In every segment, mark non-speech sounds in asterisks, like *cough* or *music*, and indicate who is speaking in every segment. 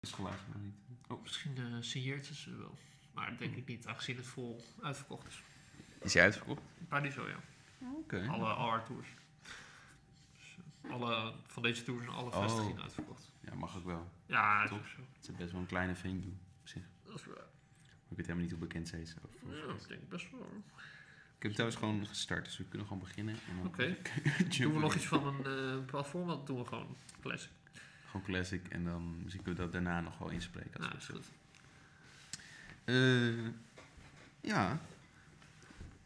Speaker 1: is het geluid nou niet. Oh.
Speaker 2: Misschien uh, signeertjes ze wel. Maar dat
Speaker 1: Mhm.
Speaker 2: denk ik niet, aangezien het vol uitverkocht is.
Speaker 1: Is hij uitverkocht?
Speaker 2: Paradiso, ja.
Speaker 1: Oké.
Speaker 2: Alle AR-tours. Dus, eh, alle, van deze tours zijn alle
Speaker 1: Oh.
Speaker 2: vestigingen uitverkocht.
Speaker 1: Ja, mag ook wel.
Speaker 2: Ja,
Speaker 1: Top.
Speaker 2: dat is ook
Speaker 1: Het is best wel een kleine venue.
Speaker 2: zo. Dat is wel-
Speaker 1: Ik weet helemaal niet hoe bekend zij is. over-
Speaker 2: Ja, dat denk ik best wel. hoor.
Speaker 1: Ik heb trouwens gewoon gestart, dus we kunnen gewoon beginnen. en dan-
Speaker 2: Oké. Doen we
Speaker 1: *laughs* Jumpen
Speaker 2: nog
Speaker 1: in.
Speaker 2: iets van een eh, bepaald format? Doen we gewoon classic.
Speaker 1: Gewoon classic en dan misschien kunnen we dat daarna nog wel inspreken. Als we
Speaker 2: Nou, is goed.
Speaker 1: Eh, ja,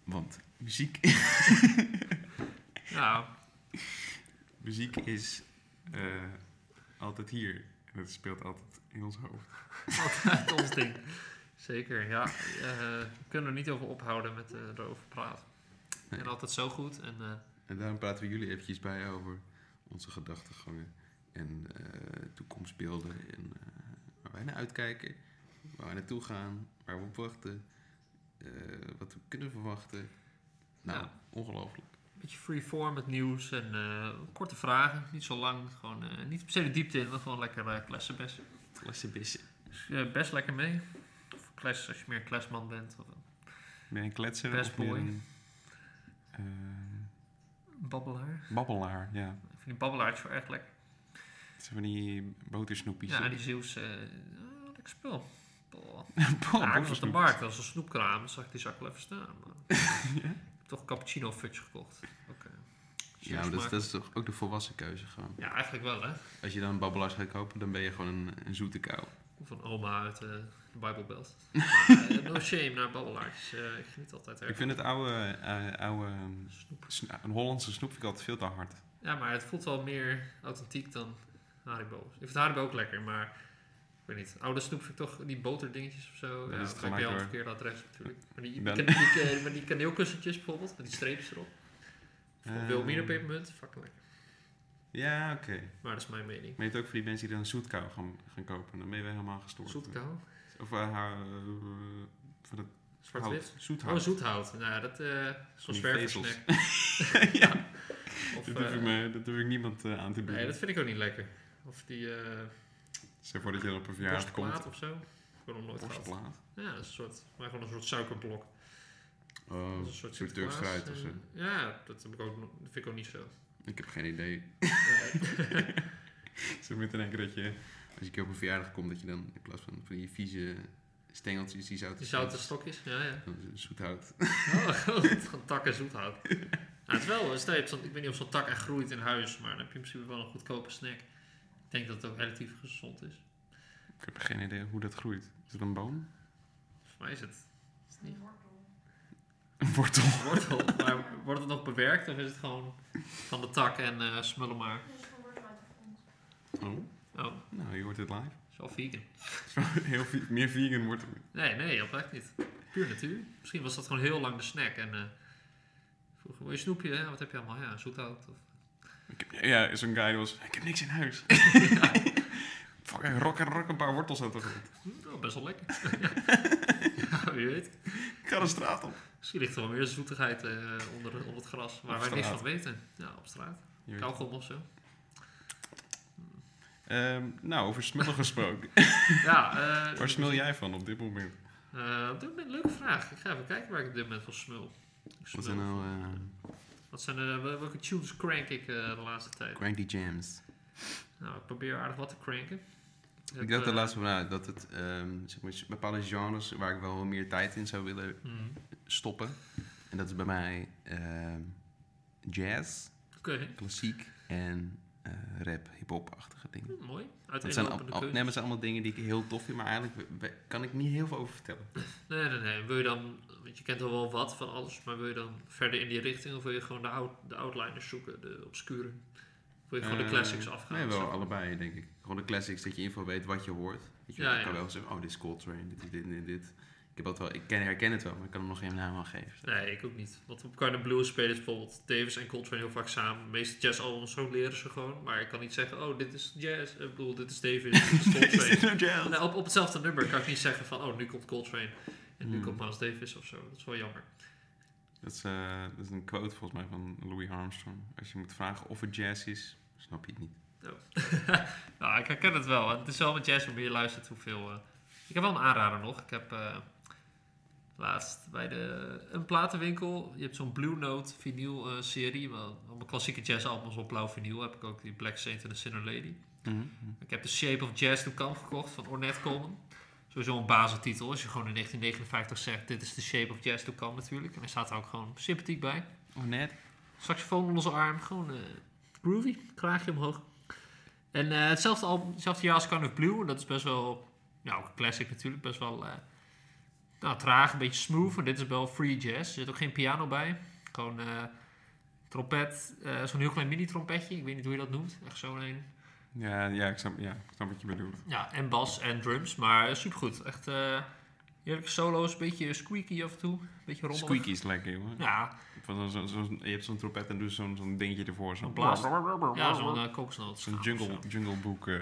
Speaker 1: want muziek, *laughs*
Speaker 2: Ja, *laughs*
Speaker 1: muziek is eh, altijd hier. En dat speelt altijd in ons hoofd.
Speaker 2: altijd ons ding. Zeker, ja. Eh, we kunnen er niet over ophouden met eh, erover praten.
Speaker 1: Nee.
Speaker 2: En altijd zo goed. En eh,
Speaker 1: En daarom praten we jullie eventjes bij over onze gedachtegangen en eh, toekomstbeelden. En eh, waar wij naar uitkijken, waar we naartoe gaan, waar we op wachten, eh, wat we kunnen verwachten. Nou,
Speaker 2: Ja.
Speaker 1: ongelooflijk.
Speaker 2: een beetje freeform met nieuws en eh, korte vragen. Niet zo lang. Gewoon, eh, niet per se de diepte in, maar gewoon lekker eh klassen best.
Speaker 1: Klassenbissen.
Speaker 2: Dus, eh, best lekker mee. Of klas, als je meer klasman bent. Of een
Speaker 1: Ben je een kletser
Speaker 2: Best
Speaker 1: of ben je
Speaker 2: boy.
Speaker 1: een, eh,
Speaker 2: babbelaar.
Speaker 1: babbelaar? Ja.
Speaker 2: Ik vind die babbelaars wel erg lekker.
Speaker 1: Het zijn van die botersnoepies. *laughs*
Speaker 2: Ja,
Speaker 1: hè?
Speaker 2: die Zeeuwse... eh, ah, lekker spul. Boah.
Speaker 1: Bo-
Speaker 2: Ja, ik was op de
Speaker 1: botersnoepies.
Speaker 2: markt, dat was een snoepkraam, dan zag ik die zak wel even staan. Maar
Speaker 1: *laughs*
Speaker 2: *laughs* Ik heb toch cappuccino fudge gekocht. eh, Oké.
Speaker 1: Ja, maar dat, is- dat is toch ook de volwassen keuze gewoon.
Speaker 2: ja, eigenlijk wel hè.
Speaker 1: Als je dan babbelaars gaat kopen, dan ben je gewoon een, een zoete kou.
Speaker 2: Of een oma uit eh, de
Speaker 1: *laughs*
Speaker 2: Bijbelbelt. Maar, eh, no shame naar babbelaars. Eh, ik geniet altijd erg.
Speaker 1: Ik vind het oude, eh, oude ehm,
Speaker 2: Snoep.
Speaker 1: sno- een Hollandse snoep vind ik altijd veel te hard.
Speaker 2: Ja, maar het voelt wel meer authentiek dan Haribo. Ik vind Haribo ook lekker, maar ik weet niet. Oude snoep vind ik toch die boterdingetjes of zo.
Speaker 1: Dan
Speaker 2: ja,
Speaker 1: is het
Speaker 2: dan heb
Speaker 1: gemaakt
Speaker 2: je al een
Speaker 1: door-
Speaker 2: verkeerde adres natuurlijk. Maar die, die,
Speaker 1: Dan-
Speaker 2: kan- die, eh, maar die kaneelkussentjes bijvoorbeeld, met die streepjes erop. Of
Speaker 1: Eh.
Speaker 2: Wilmina pepermunt, fucking lekker.
Speaker 1: Ja, oké.
Speaker 2: Maar dat is mijn mening.
Speaker 1: Maar je hebt ook voor die mensen die dan zoetkou gaan, gaan kopen. Dan ben je wel helemaal gestoord.
Speaker 2: Zoetkou?
Speaker 1: Of eh, haar, eh, van het
Speaker 2: Zwart-wit?
Speaker 1: hout. Zoethout.
Speaker 2: Oh, zoethout. Nou, ja, dat eh, is zo'n
Speaker 1: die
Speaker 2: zwerversnack.
Speaker 1: *laughs* ja,
Speaker 2: Of,
Speaker 1: dat durf,
Speaker 2: eh,
Speaker 1: ik me, dat durf ik niemand eh, aan te bieden.
Speaker 2: nee, dat vind ik ook niet lekker. Of die eh
Speaker 1: Zeg voor dat je dan op een verjaardag komt.
Speaker 2: borstplaat of zo. Ik heb nog nooit gehad.
Speaker 1: Borstplaat.
Speaker 2: Ja, dat is een soort, maar gewoon een soort suikerblok.
Speaker 1: Oh,
Speaker 2: Dat
Speaker 1: een
Speaker 2: is een soort
Speaker 1: soort Turks
Speaker 2: Sinterklaas,
Speaker 1: fruit of
Speaker 2: eh,
Speaker 1: zo.
Speaker 2: Ja, dat, heb ik ook, nog- dat vind ik ook niet zo.
Speaker 1: Ik heb geen idee.
Speaker 2: Nee.
Speaker 1: Zo met in één keer dat je, als ik op een verjaardag kom, dat je dan in plaats van van die vieze stengeltjes die zout
Speaker 2: die zouten stokjes, ja,
Speaker 1: *laughs*
Speaker 2: ja.
Speaker 1: dan is het zoethout.
Speaker 2: Oh, gewoon takken zoethout. Nou, het is wel, stel je hebt zo'n- ik weet niet of zo'n tak echt groeit in huis, maar dan heb je in principe wel een goedkope snack. Ik denk dat het ook relatief gezond is.
Speaker 1: Ik heb geen idee hoe dat groeit. Is dat een boom?
Speaker 2: Volgens mij is het, is het niet
Speaker 1: Een wortel.
Speaker 2: wortel. Maar wordt het nog bewerkt of is het gewoon van de tak en eh, smullen maar?
Speaker 1: Oh,
Speaker 2: Oh,
Speaker 1: nou, je hoort het live. *laughs*
Speaker 2: het is wel vegan.
Speaker 1: Het is wel Heel ve- meer vegan wortel.
Speaker 2: Nee, nee, oprecht niet. Puur natuur. Misschien was dat gewoon heel lang de snack. En eh vroeger, wil je snoepje? Ja, wat heb je allemaal? Ja, zoethout. Of...
Speaker 1: Ik heb, ja, zo'n guy die was, ik heb niks in *laughs* huis. Fuck, hij rok en rok een paar wortels uit de grond.
Speaker 2: Hm, oh, best wel lekker. *laughs* ja, wie weet.
Speaker 1: Ik ga de straat op.
Speaker 2: Misschien ligt er wel meer zoetigheid eh, onder, onder het gras. Waar
Speaker 1: Op
Speaker 2: wij niks
Speaker 1: straat.
Speaker 2: van weten. Ja, op straat.
Speaker 1: Je weet-
Speaker 2: Kauwgom of zo.
Speaker 1: Ehm, nou, over *laughs* smullen gesproken.
Speaker 2: Ja, eh,
Speaker 1: Waar smul jij van op dit moment?
Speaker 2: eh, op dit moment, leuke vraag. Ik ga even kijken waar ik op dit moment van smul. Ik
Speaker 1: Wat
Speaker 2: smul
Speaker 1: zijn nou eh,
Speaker 2: Wat zijn eh, wel- welke tunes crank ik eh, de laatste tijd?
Speaker 1: cranky jams?
Speaker 2: Nou, ik probeer aardig wat te cranken. Eh,
Speaker 1: Ik dacht er laatst van uit dat het ehm, zeg maar, bepaalde genres waar ik wel meer tijd in zou willen
Speaker 2: Mhm.
Speaker 1: stoppen. En dat is bij mij ehm, jazz,
Speaker 2: Oké,
Speaker 1: klassiek en eh, rap, hip-hop-achtige dingen.
Speaker 2: hm, mooi.
Speaker 1: Dat zijn, al,
Speaker 2: Uiteenlopende
Speaker 1: al- nee,
Speaker 2: keuzes.
Speaker 1: maar het zijn allemaal dingen die ik heel tof vind, maar eigenlijk we- we- kan ik niet heel veel over vertellen.
Speaker 2: Nee, nee, nee. Wil je dan, want je kent al wel wat van alles, maar wil je dan verder in die richting of wil je gewoon de, out, de outliners zoeken, de obscure? Of wil je gewoon de
Speaker 1: Eh,
Speaker 2: classics afgaan?
Speaker 1: Nee,
Speaker 2: zeg
Speaker 1: wel
Speaker 2: maar?
Speaker 1: allebei, denk ik. Gewoon de classics, dat je in ieder geval weet wat je hoort. Weet je,
Speaker 2: Ja,
Speaker 1: ik kan
Speaker 2: ja.
Speaker 1: wel zeggen, oh, dit is Coltrane, dit is dit en dit, dit. Ik, heb dat wel, ik ken, herken het wel, maar ik kan hem nog geen naam aan geven.
Speaker 2: Nee, ik ook niet. Want op Carne Blues spelen ze bijvoorbeeld Davis en Coltrane heel vaak samen. De meeste jazzalbums zo leren ze gewoon. Maar ik kan niet zeggen, oh, dit is jazz. Ik bedoel, dit is Davis,
Speaker 1: *laughs*
Speaker 2: dit is
Speaker 1: Is dit
Speaker 2: Coltrane.
Speaker 1: nou jazz?
Speaker 2: Nee, op, op hetzelfde nummer kan ik niet zeggen van, oh, nu komt Coltrane. En nu
Speaker 1: Hmm.
Speaker 2: komt Miles Davis of zo. Dat is wel jammer.
Speaker 1: Dat is, eh, dat is een quote volgens mij van Louis Armstrong. Als je moet vragen of het jazz is, snap je het niet.
Speaker 2: nou, ik herken het wel. Het is wel met jazz hoe meer je luistert hoeveel... eh, Ik heb wel een aanrader nog. Ik heb eh, laatst bij de, een platenwinkel... Je hebt zo'n Blue Note vinyl eh, serie. wel- Allemaal klassieke jazzalbums op blauw vinyl. Heb ik ook die Black Saint and the Sinner Lady.
Speaker 1: Mhm.
Speaker 2: Ik heb The Shape of Jazz to Come gekocht van Ornette Coleman. Sowieso een basentitel. Als je gewoon in 1959 zegt, dit is The Shape of Jazz to Come natuurlijk. En hij staat er ook gewoon sympathiek bij.
Speaker 1: Oh, net.
Speaker 2: Saxofoon onder zijn arm, gewoon eh, groovy, kraagje omhoog. En eh, hetzelfde, album, hetzelfde jaar als Kind of Blue, en dat is best wel, nou ook een classic natuurlijk, best wel eh, nou, traag, een beetje smooth. En dit is wel free jazz, er zit ook geen piano bij. Gewoon eh, trompet, eh, zo'n heel klein mini-trompetje, ik weet niet hoe je dat noemt. Echt zo'n een.
Speaker 1: Ja, ja, ik snap, ja, ik snap wat je bedoelt.
Speaker 2: Ja, en bas en drums, maar supergoed. Echt eh heerlijke solo's, een beetje squeaky af en toe, een beetje rommelig.
Speaker 1: Squeaky is lekker, jongen.
Speaker 2: Ja,
Speaker 1: Van zo'n- zo'n- zo'n- je hebt zo'n trompet en doe zo'n zo'n dingetje ervoor. Zo'n
Speaker 2: Zo'n blaas. ja zo'n uh, kokosnoot.
Speaker 1: Zo'n jungle, jungle boek. eh,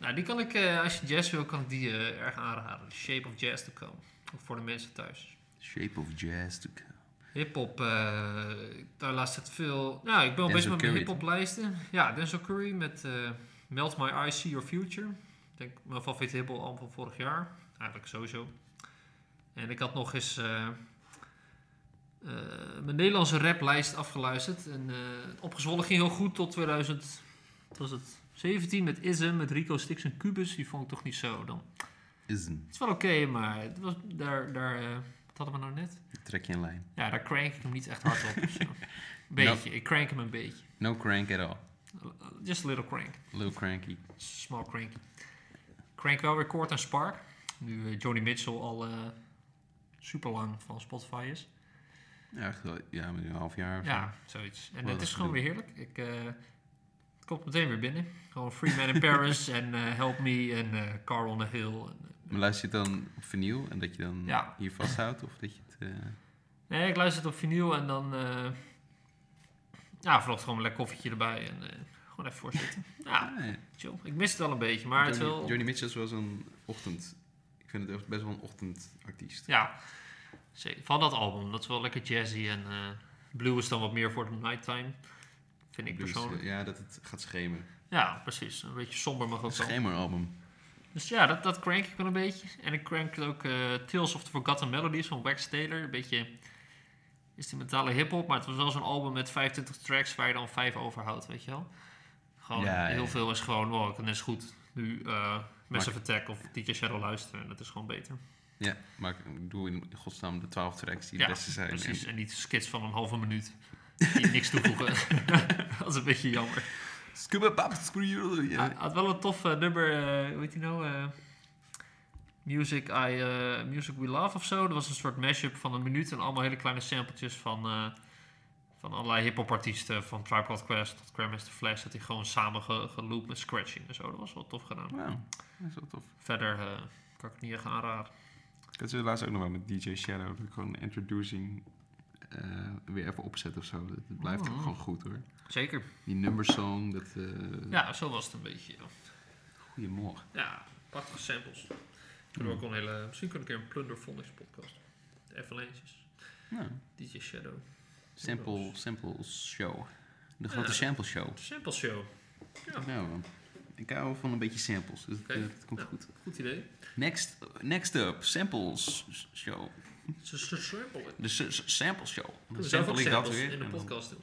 Speaker 2: Nou, die kan ik, eh, als je jazz wil, kan ik die eh, erg aanraden. The Shape of Jazz to Come. Voor de mensen thuis.
Speaker 1: Shape of Jazz. to come.
Speaker 2: Hip-hop, eh, daar laatst het veel. Nou, ik ben al bezig
Speaker 1: Denzel
Speaker 2: met mijn
Speaker 1: Curry,
Speaker 2: hip-hop lijsten. Ja, Denzel Curry met eh, Melt My Eyes, See Your Future. Ik denk mijn favoriete hip-hop album van vorig jaar. Eigenlijk sowieso. En ik had nog eens eh, eh, mijn Nederlandse raplijst afgeluisterd. En eh, opgezwollen ging heel goed tot 2000. Wat was het? 17 met Ism, met Rico Stix en Cubus. Die vond ik toch niet zo dan.
Speaker 1: Is een.
Speaker 2: Het is wel oké, maar het was daar, daar eh, wat hadden we nou net?
Speaker 1: Trek je een lijn.
Speaker 2: Ja, daar crank ik hem niet echt hard op. of zo. beetje, ik crank hem een beetje.
Speaker 1: No crank at all.
Speaker 2: Just a little crank.
Speaker 1: Little cranky.
Speaker 2: Small crank. Crank wel weer Kort en Spark. Nu eh, Johnny Mitchell al super lang van Spotify is.
Speaker 1: Ja, echt wel. Ja, met een half jaar of
Speaker 2: Ja, zoiets. En
Speaker 1: Wel
Speaker 2: het
Speaker 1: dat
Speaker 2: is gewoon
Speaker 1: gedoe.
Speaker 2: weer heerlijk. Ik, eh, het komt meteen weer binnen. Gewoon Free Man in *laughs* Paris en eh, Help Me en eh, Car on the Hill. En, eh,
Speaker 1: Maar luister je het dan op vinyl en dat je dan
Speaker 2: Ja.
Speaker 1: hier vasthoudt? Of dat je het... eh,
Speaker 2: Nee, ik luister het op vinyl en dan... eh ja, vanochtend gewoon een lekker koffietje erbij en eh, gewoon even voorzitten. ja,
Speaker 1: ah, ja.
Speaker 2: chill. Ik mis het al een beetje, maar het
Speaker 1: Johnny,
Speaker 2: is wel...
Speaker 1: Johnny Mitchell is wel zo'n ochtend... Ik vind het echt best wel een ochtendartiest.
Speaker 2: Ja, zeker. van dat album. Dat is wel lekker jazzy en eh, blue is dan wat meer voor de nighttime. Vind ik
Speaker 1: Dus,
Speaker 2: persoonlijk.
Speaker 1: eh, ja, dat het gaat schemeren.
Speaker 2: Ja, precies. Een beetje somber mag
Speaker 1: Een
Speaker 2: ook wel.
Speaker 1: schemeralbum.
Speaker 2: Dus ja, dat, dat crank ik wel een beetje. En ik crank ook eh, Tales of the Forgotten Melodies van Wax Taylor. Een beetje instrumentale hip-hop, maar het was wel zo'n album met 25 tracks waar je dan 5 overhoudt, weet je wel. Gewoon
Speaker 1: Ja,
Speaker 2: heel
Speaker 1: ja.
Speaker 2: veel is gewoon, wow, ik kan net zo goed nu eh Massive
Speaker 1: Maar-
Speaker 2: Attack of DJ Shadow luisteren. Dat is gewoon beter.
Speaker 1: Ja, maar ik doe in godsnaam de twaalf tracks die
Speaker 2: Ja,
Speaker 1: de beste zijn.
Speaker 2: Precies, en niet skits van een halve minuut die
Speaker 1: *laughs*
Speaker 2: niks toevoegen. dat is een beetje jammer.
Speaker 1: En- Scuba bap, screw you.
Speaker 2: Hij
Speaker 1: Ja.
Speaker 2: had wel een tof eh, nummer, eh, hoe heet die nou? eh, music, I, eh, music We Love of zo. Dat was een soort mashup van een minuut en allemaal hele kleine sampletjes van, eh, van allerlei hip-hop artiesten. Van Tribe Called Quest tot Grandmaster Flash. Dat hij gewoon samen ge- geloopt met scratching en zo. Dat was wel tof gedaan.
Speaker 1: Wauw, dat is wel tof.
Speaker 2: Verder eh, kan ik het niet echt aanraden.
Speaker 1: Ik had ze laatst ook nog wel met DJ Shadow. Dat ik gewoon introducing eh, weer even opzet of zo. Dat, dat blijft
Speaker 2: Oh.
Speaker 1: ook gewoon goed hoor.
Speaker 2: Zeker.
Speaker 1: Die numbersong, dat... eh
Speaker 2: Ja, zo was het een beetje. ja.
Speaker 1: Goedemorgen.
Speaker 2: Ja, prachtige samples. Kunnen we ook wel een hele, misschien kunnen we een keer een Plunderphonics podcast. De Avalanches,
Speaker 1: Nou,
Speaker 2: DJ Shadow.
Speaker 1: sample, sample show. De grote
Speaker 2: Ja.
Speaker 1: sample show.
Speaker 2: De Sample Show, Ja.
Speaker 1: Nou, man. ik hou van een beetje samples. Dus het,
Speaker 2: Oké.
Speaker 1: eh, het komt
Speaker 2: Ja.
Speaker 1: goed.
Speaker 2: goed idee.
Speaker 1: Next, next up, samples show.
Speaker 2: Ze ze samplen.
Speaker 1: De s- s- sample show. Dan
Speaker 2: We zelf ook
Speaker 1: sample ik dat
Speaker 2: samples
Speaker 1: weer.
Speaker 2: in de
Speaker 1: en dan-
Speaker 2: podcast doen.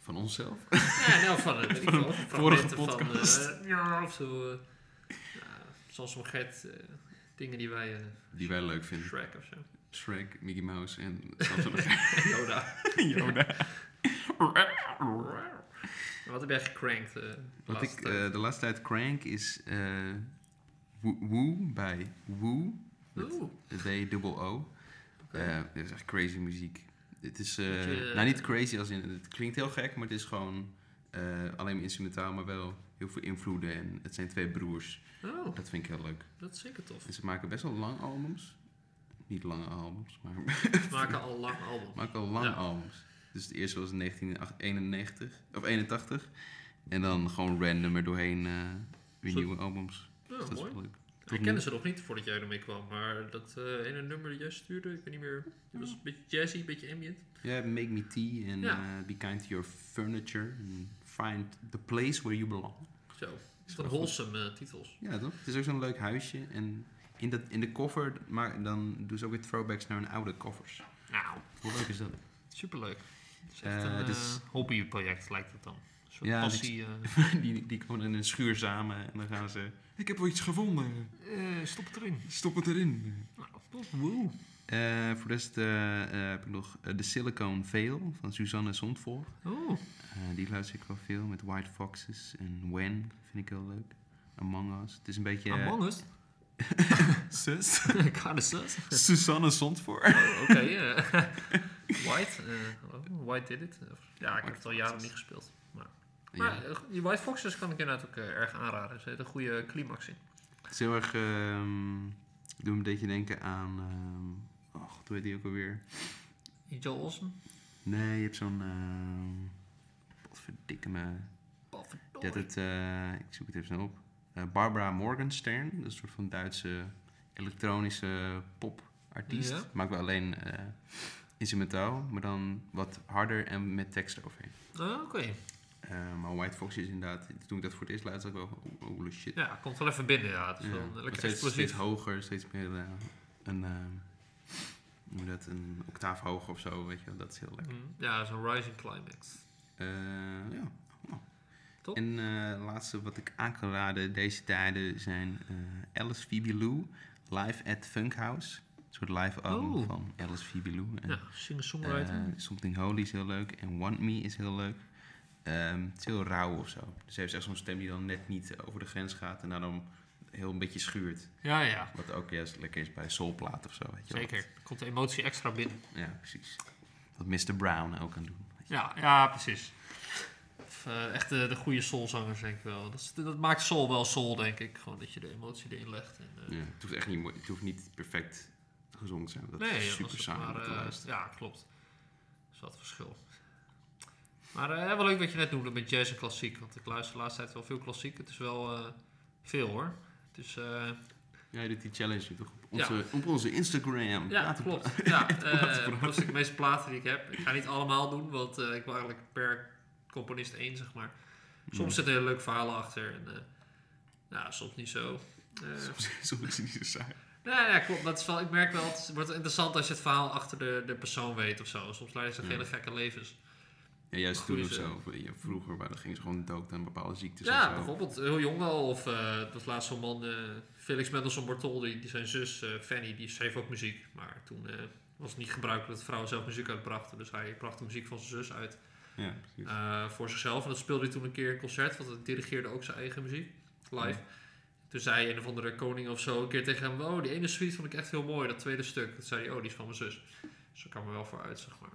Speaker 1: Van onszelf.
Speaker 2: Ja, nou van,
Speaker 1: *laughs*
Speaker 2: eh, weet ik wel,
Speaker 1: vorige
Speaker 2: fragmenten van,
Speaker 1: podcast.
Speaker 2: eh, ja, of zo. eh, ja, zoals om Gert, eh, dingen die wij, eh
Speaker 1: Die wij leuk vinden.
Speaker 2: Shrek of zo. *laughs*
Speaker 1: Shrek, Mickey Mouse en *laughs* Samson en
Speaker 2: Yoda.
Speaker 1: *laughs* Yoda.
Speaker 2: Wat heb jij gecrankt? eh, de
Speaker 1: Wat
Speaker 2: laatste
Speaker 1: ik
Speaker 2: tijd?
Speaker 1: eh, de laatste tijd crank is eh Wo- Woo bij Woo. met
Speaker 2: Oeh,
Speaker 1: W-O-O.
Speaker 2: Oké.
Speaker 1: Eh, dit is echt crazy muziek. Het is, eh,
Speaker 2: Beetje, eh,
Speaker 1: nou niet crazy als in, het klinkt heel gek, maar het is gewoon eh, alleen instrumentaal, maar wel heel veel invloeden. En het zijn twee broers.
Speaker 2: oh,
Speaker 1: Dat vind ik heel leuk.
Speaker 2: dat is zeker
Speaker 1: *laughs*
Speaker 2: tof.
Speaker 1: En ze maken best wel lang albums. Niet lange albums, maar *laughs*
Speaker 2: We maken al lang album.
Speaker 1: maken al lang
Speaker 2: Ja.
Speaker 1: albums. Dus het eerste was in 1991 of 81. En dan gewoon random er doorheen eh, weer
Speaker 2: Zo-
Speaker 1: nieuwe albums.
Speaker 2: Ja,
Speaker 1: Dus dat is
Speaker 2: Oh, mooi.
Speaker 1: wel leuk.
Speaker 2: Ik kende ze nog niet voordat jij ermee kwam, maar dat eh ene nummer dat jij stuurde, ik weet niet meer. Het was een beetje jazzy, een beetje ambient.
Speaker 1: Ja, Make Me Tea en
Speaker 2: Ja.
Speaker 1: eh, Be Kind to Your Furniture. En Find the place where you belong.
Speaker 2: Zo.
Speaker 1: Is wel goed.
Speaker 2: Van wholesome eh, titels.
Speaker 1: Ja, toch? Het is ook zo'n leuk huisje. En in, dat, in de cover, maar dan doen ze ook weer throwbacks naar hun oude covers.
Speaker 2: Nou,
Speaker 1: Hoe leuk is dat?
Speaker 2: superleuk. Het is echt
Speaker 1: Eh,
Speaker 2: een
Speaker 1: dus-
Speaker 2: eh, hobbyproject lijkt het dan. Een soort
Speaker 1: Ja,
Speaker 2: passie. eh,
Speaker 1: *laughs* die, die komen in een schuur samen en dan gaan ze... Ik heb wel iets gevonden.
Speaker 2: *laughs* eh, stop het erin.
Speaker 1: Stop het erin.
Speaker 2: Nou, woe.
Speaker 1: Eh, voor de rest eh, eh, heb ik nog eh, The Silicone Veil van Suzanne Zondvoort.
Speaker 2: Oh,
Speaker 1: Eh, die luister ik wel veel met White Foxes en When vind ik heel leuk. Among Us. Het is een beetje...
Speaker 2: Among Us. *laughs*
Speaker 1: *laughs* Sus.
Speaker 2: Kind of sus.
Speaker 1: Susanne Zondvoort.
Speaker 2: Oh, *laughs* Oké, eh. White. eh, oh, White did it. Ja, ik heb het al jaren niet gespeeld. Maar
Speaker 1: Ja,
Speaker 2: eh, die White Foxes kan ik inderdaad ook eh, erg aanraden. Er zit een goede climax in.
Speaker 1: het is heel erg... ehm doet me een beetje denken aan... ehm oh, god, hoe heet die ook alweer?
Speaker 2: Joel Olsen.
Speaker 1: Nee, je hebt zo'n... ehm wat verdikke me.
Speaker 2: Potverdorie.
Speaker 1: Dat het, eh, ik zoek het even snel op. Eh, Barbara Morgenstern, dat is een soort van Duitse elektronische popartiest.
Speaker 2: Ja.
Speaker 1: Maakt wel alleen eh, instrumentaal, maar dan wat harder en met tekst overheen.
Speaker 2: Ah, Oké,
Speaker 1: Eh, maar White Fox is inderdaad, toen ik dat voor het eerst luisterde, dacht ik wel, van, oh, holy shit.
Speaker 2: ja, komt wel even binnen. Ja, het is wel
Speaker 1: Ja,
Speaker 2: een
Speaker 1: wordt
Speaker 2: lekker
Speaker 1: steeds, steeds
Speaker 2: explosief.
Speaker 1: hoger, steeds meer eh, een, eh, hoe noem je dat, een octaaf hoger of zo, weet je wel. Dat is heel lekker.
Speaker 2: Mm, Ja, zo'n rising climax.
Speaker 1: Eh, ja. Oh.
Speaker 2: Top.
Speaker 1: En eh, het laatste wat ik aan kan raden deze tijden zijn eh, Alice Phoebe Lou live at Funkhouse. Een soort live album
Speaker 2: Oh.
Speaker 1: van Alice Phoebe Lou. En,
Speaker 2: Ja, singer-songwriter.
Speaker 1: eh, Something Holy is heel leuk en Want Me is heel leuk. Ehm, het is heel rauw of zo. Dus hij heeft echt zo'n stem die dan net niet over de grens gaat en daarom heel een beetje schuurt.
Speaker 2: ja, ja,
Speaker 1: Wat ook juist lekker is bij soulplaat of zo. Weet je wel.
Speaker 2: zeker. Komt de emotie extra binnen.
Speaker 1: Ja, precies. Wat Mr. Brown ook kan doen.
Speaker 2: Ja, ja precies. Of, eh, echt de, de goede soulzangers, denk ik wel. Dat, is- dat maakt soul wel soul, denk ik. Gewoon dat je de emotie erin legt. En, eh,
Speaker 1: Ja, het hoeft echt niet, mooi- het hoeft niet perfect gezongen te zijn. want Dat
Speaker 2: nee,
Speaker 1: is
Speaker 2: ja,
Speaker 1: super
Speaker 2: als het
Speaker 1: saai om
Speaker 2: maar,
Speaker 1: te
Speaker 2: eh,
Speaker 1: luisteren.
Speaker 2: Ja, klopt. Dat is wat verschil. Maar eh, ja, wel leuk wat je net noemde met jazz en klassiek. Want ik luister de laatste tijd wel veel klassiek. Het is wel eh, veel hoor. Dus eh
Speaker 1: Ja, je doet die challenge toch? Op onze, op onze Instagram.
Speaker 2: ja,
Speaker 1: Laat op-
Speaker 2: klopt.
Speaker 1: *laughs*
Speaker 2: Ja,
Speaker 1: platenpraat.
Speaker 2: eh, dat zijn de meeste platen die ik heb. Ik ga niet allemaal doen, want eh, ik wil eigenlijk per componist één, zeg maar.
Speaker 1: Mm.
Speaker 2: Soms zitten er leuke verhalen achter. En, eh, nou, soms niet zo. Eh,
Speaker 1: *laughs* Soms- Soms is het niet zo saai.
Speaker 2: Nee, ja, klopt. Dat is wel, ik merk wel, het wordt interessant als je het verhaal achter de, de persoon weet of zo. Soms leiden ze
Speaker 1: Ja.
Speaker 2: hele gekke levens.
Speaker 1: Ja, juist
Speaker 2: Maar
Speaker 1: toen
Speaker 2: goed
Speaker 1: of
Speaker 2: is, eh,
Speaker 1: zo. of, ja, vroeger, waar dan gingen ze gewoon dood aan bepaalde ziektes
Speaker 2: ja,
Speaker 1: en zo.
Speaker 2: bijvoorbeeld heel jong wel. Of eh dat was laatst zo'n man, eh, Felix Mendelssohn Bartholdy, die zijn zus eh, Fanny, die schreef ook muziek. Maar toen eh, was het niet gebruikelijk dat vrouwen zelf muziek uitbrachten. Dus hij bracht de muziek van zijn zus uit
Speaker 1: Ja, precies.
Speaker 2: eh, voor zichzelf. En dat speelde hij toen een keer in concert, want hij dirigeerde ook zijn eigen muziek, live. Toen zei een of andere koning of zo een keer tegen hem... Oh, die ene suite vond ik echt heel mooi, dat tweede stuk. Toen zei hij, oh, die is van mijn zus. Dus daar kan me wel voor uit, zeg maar.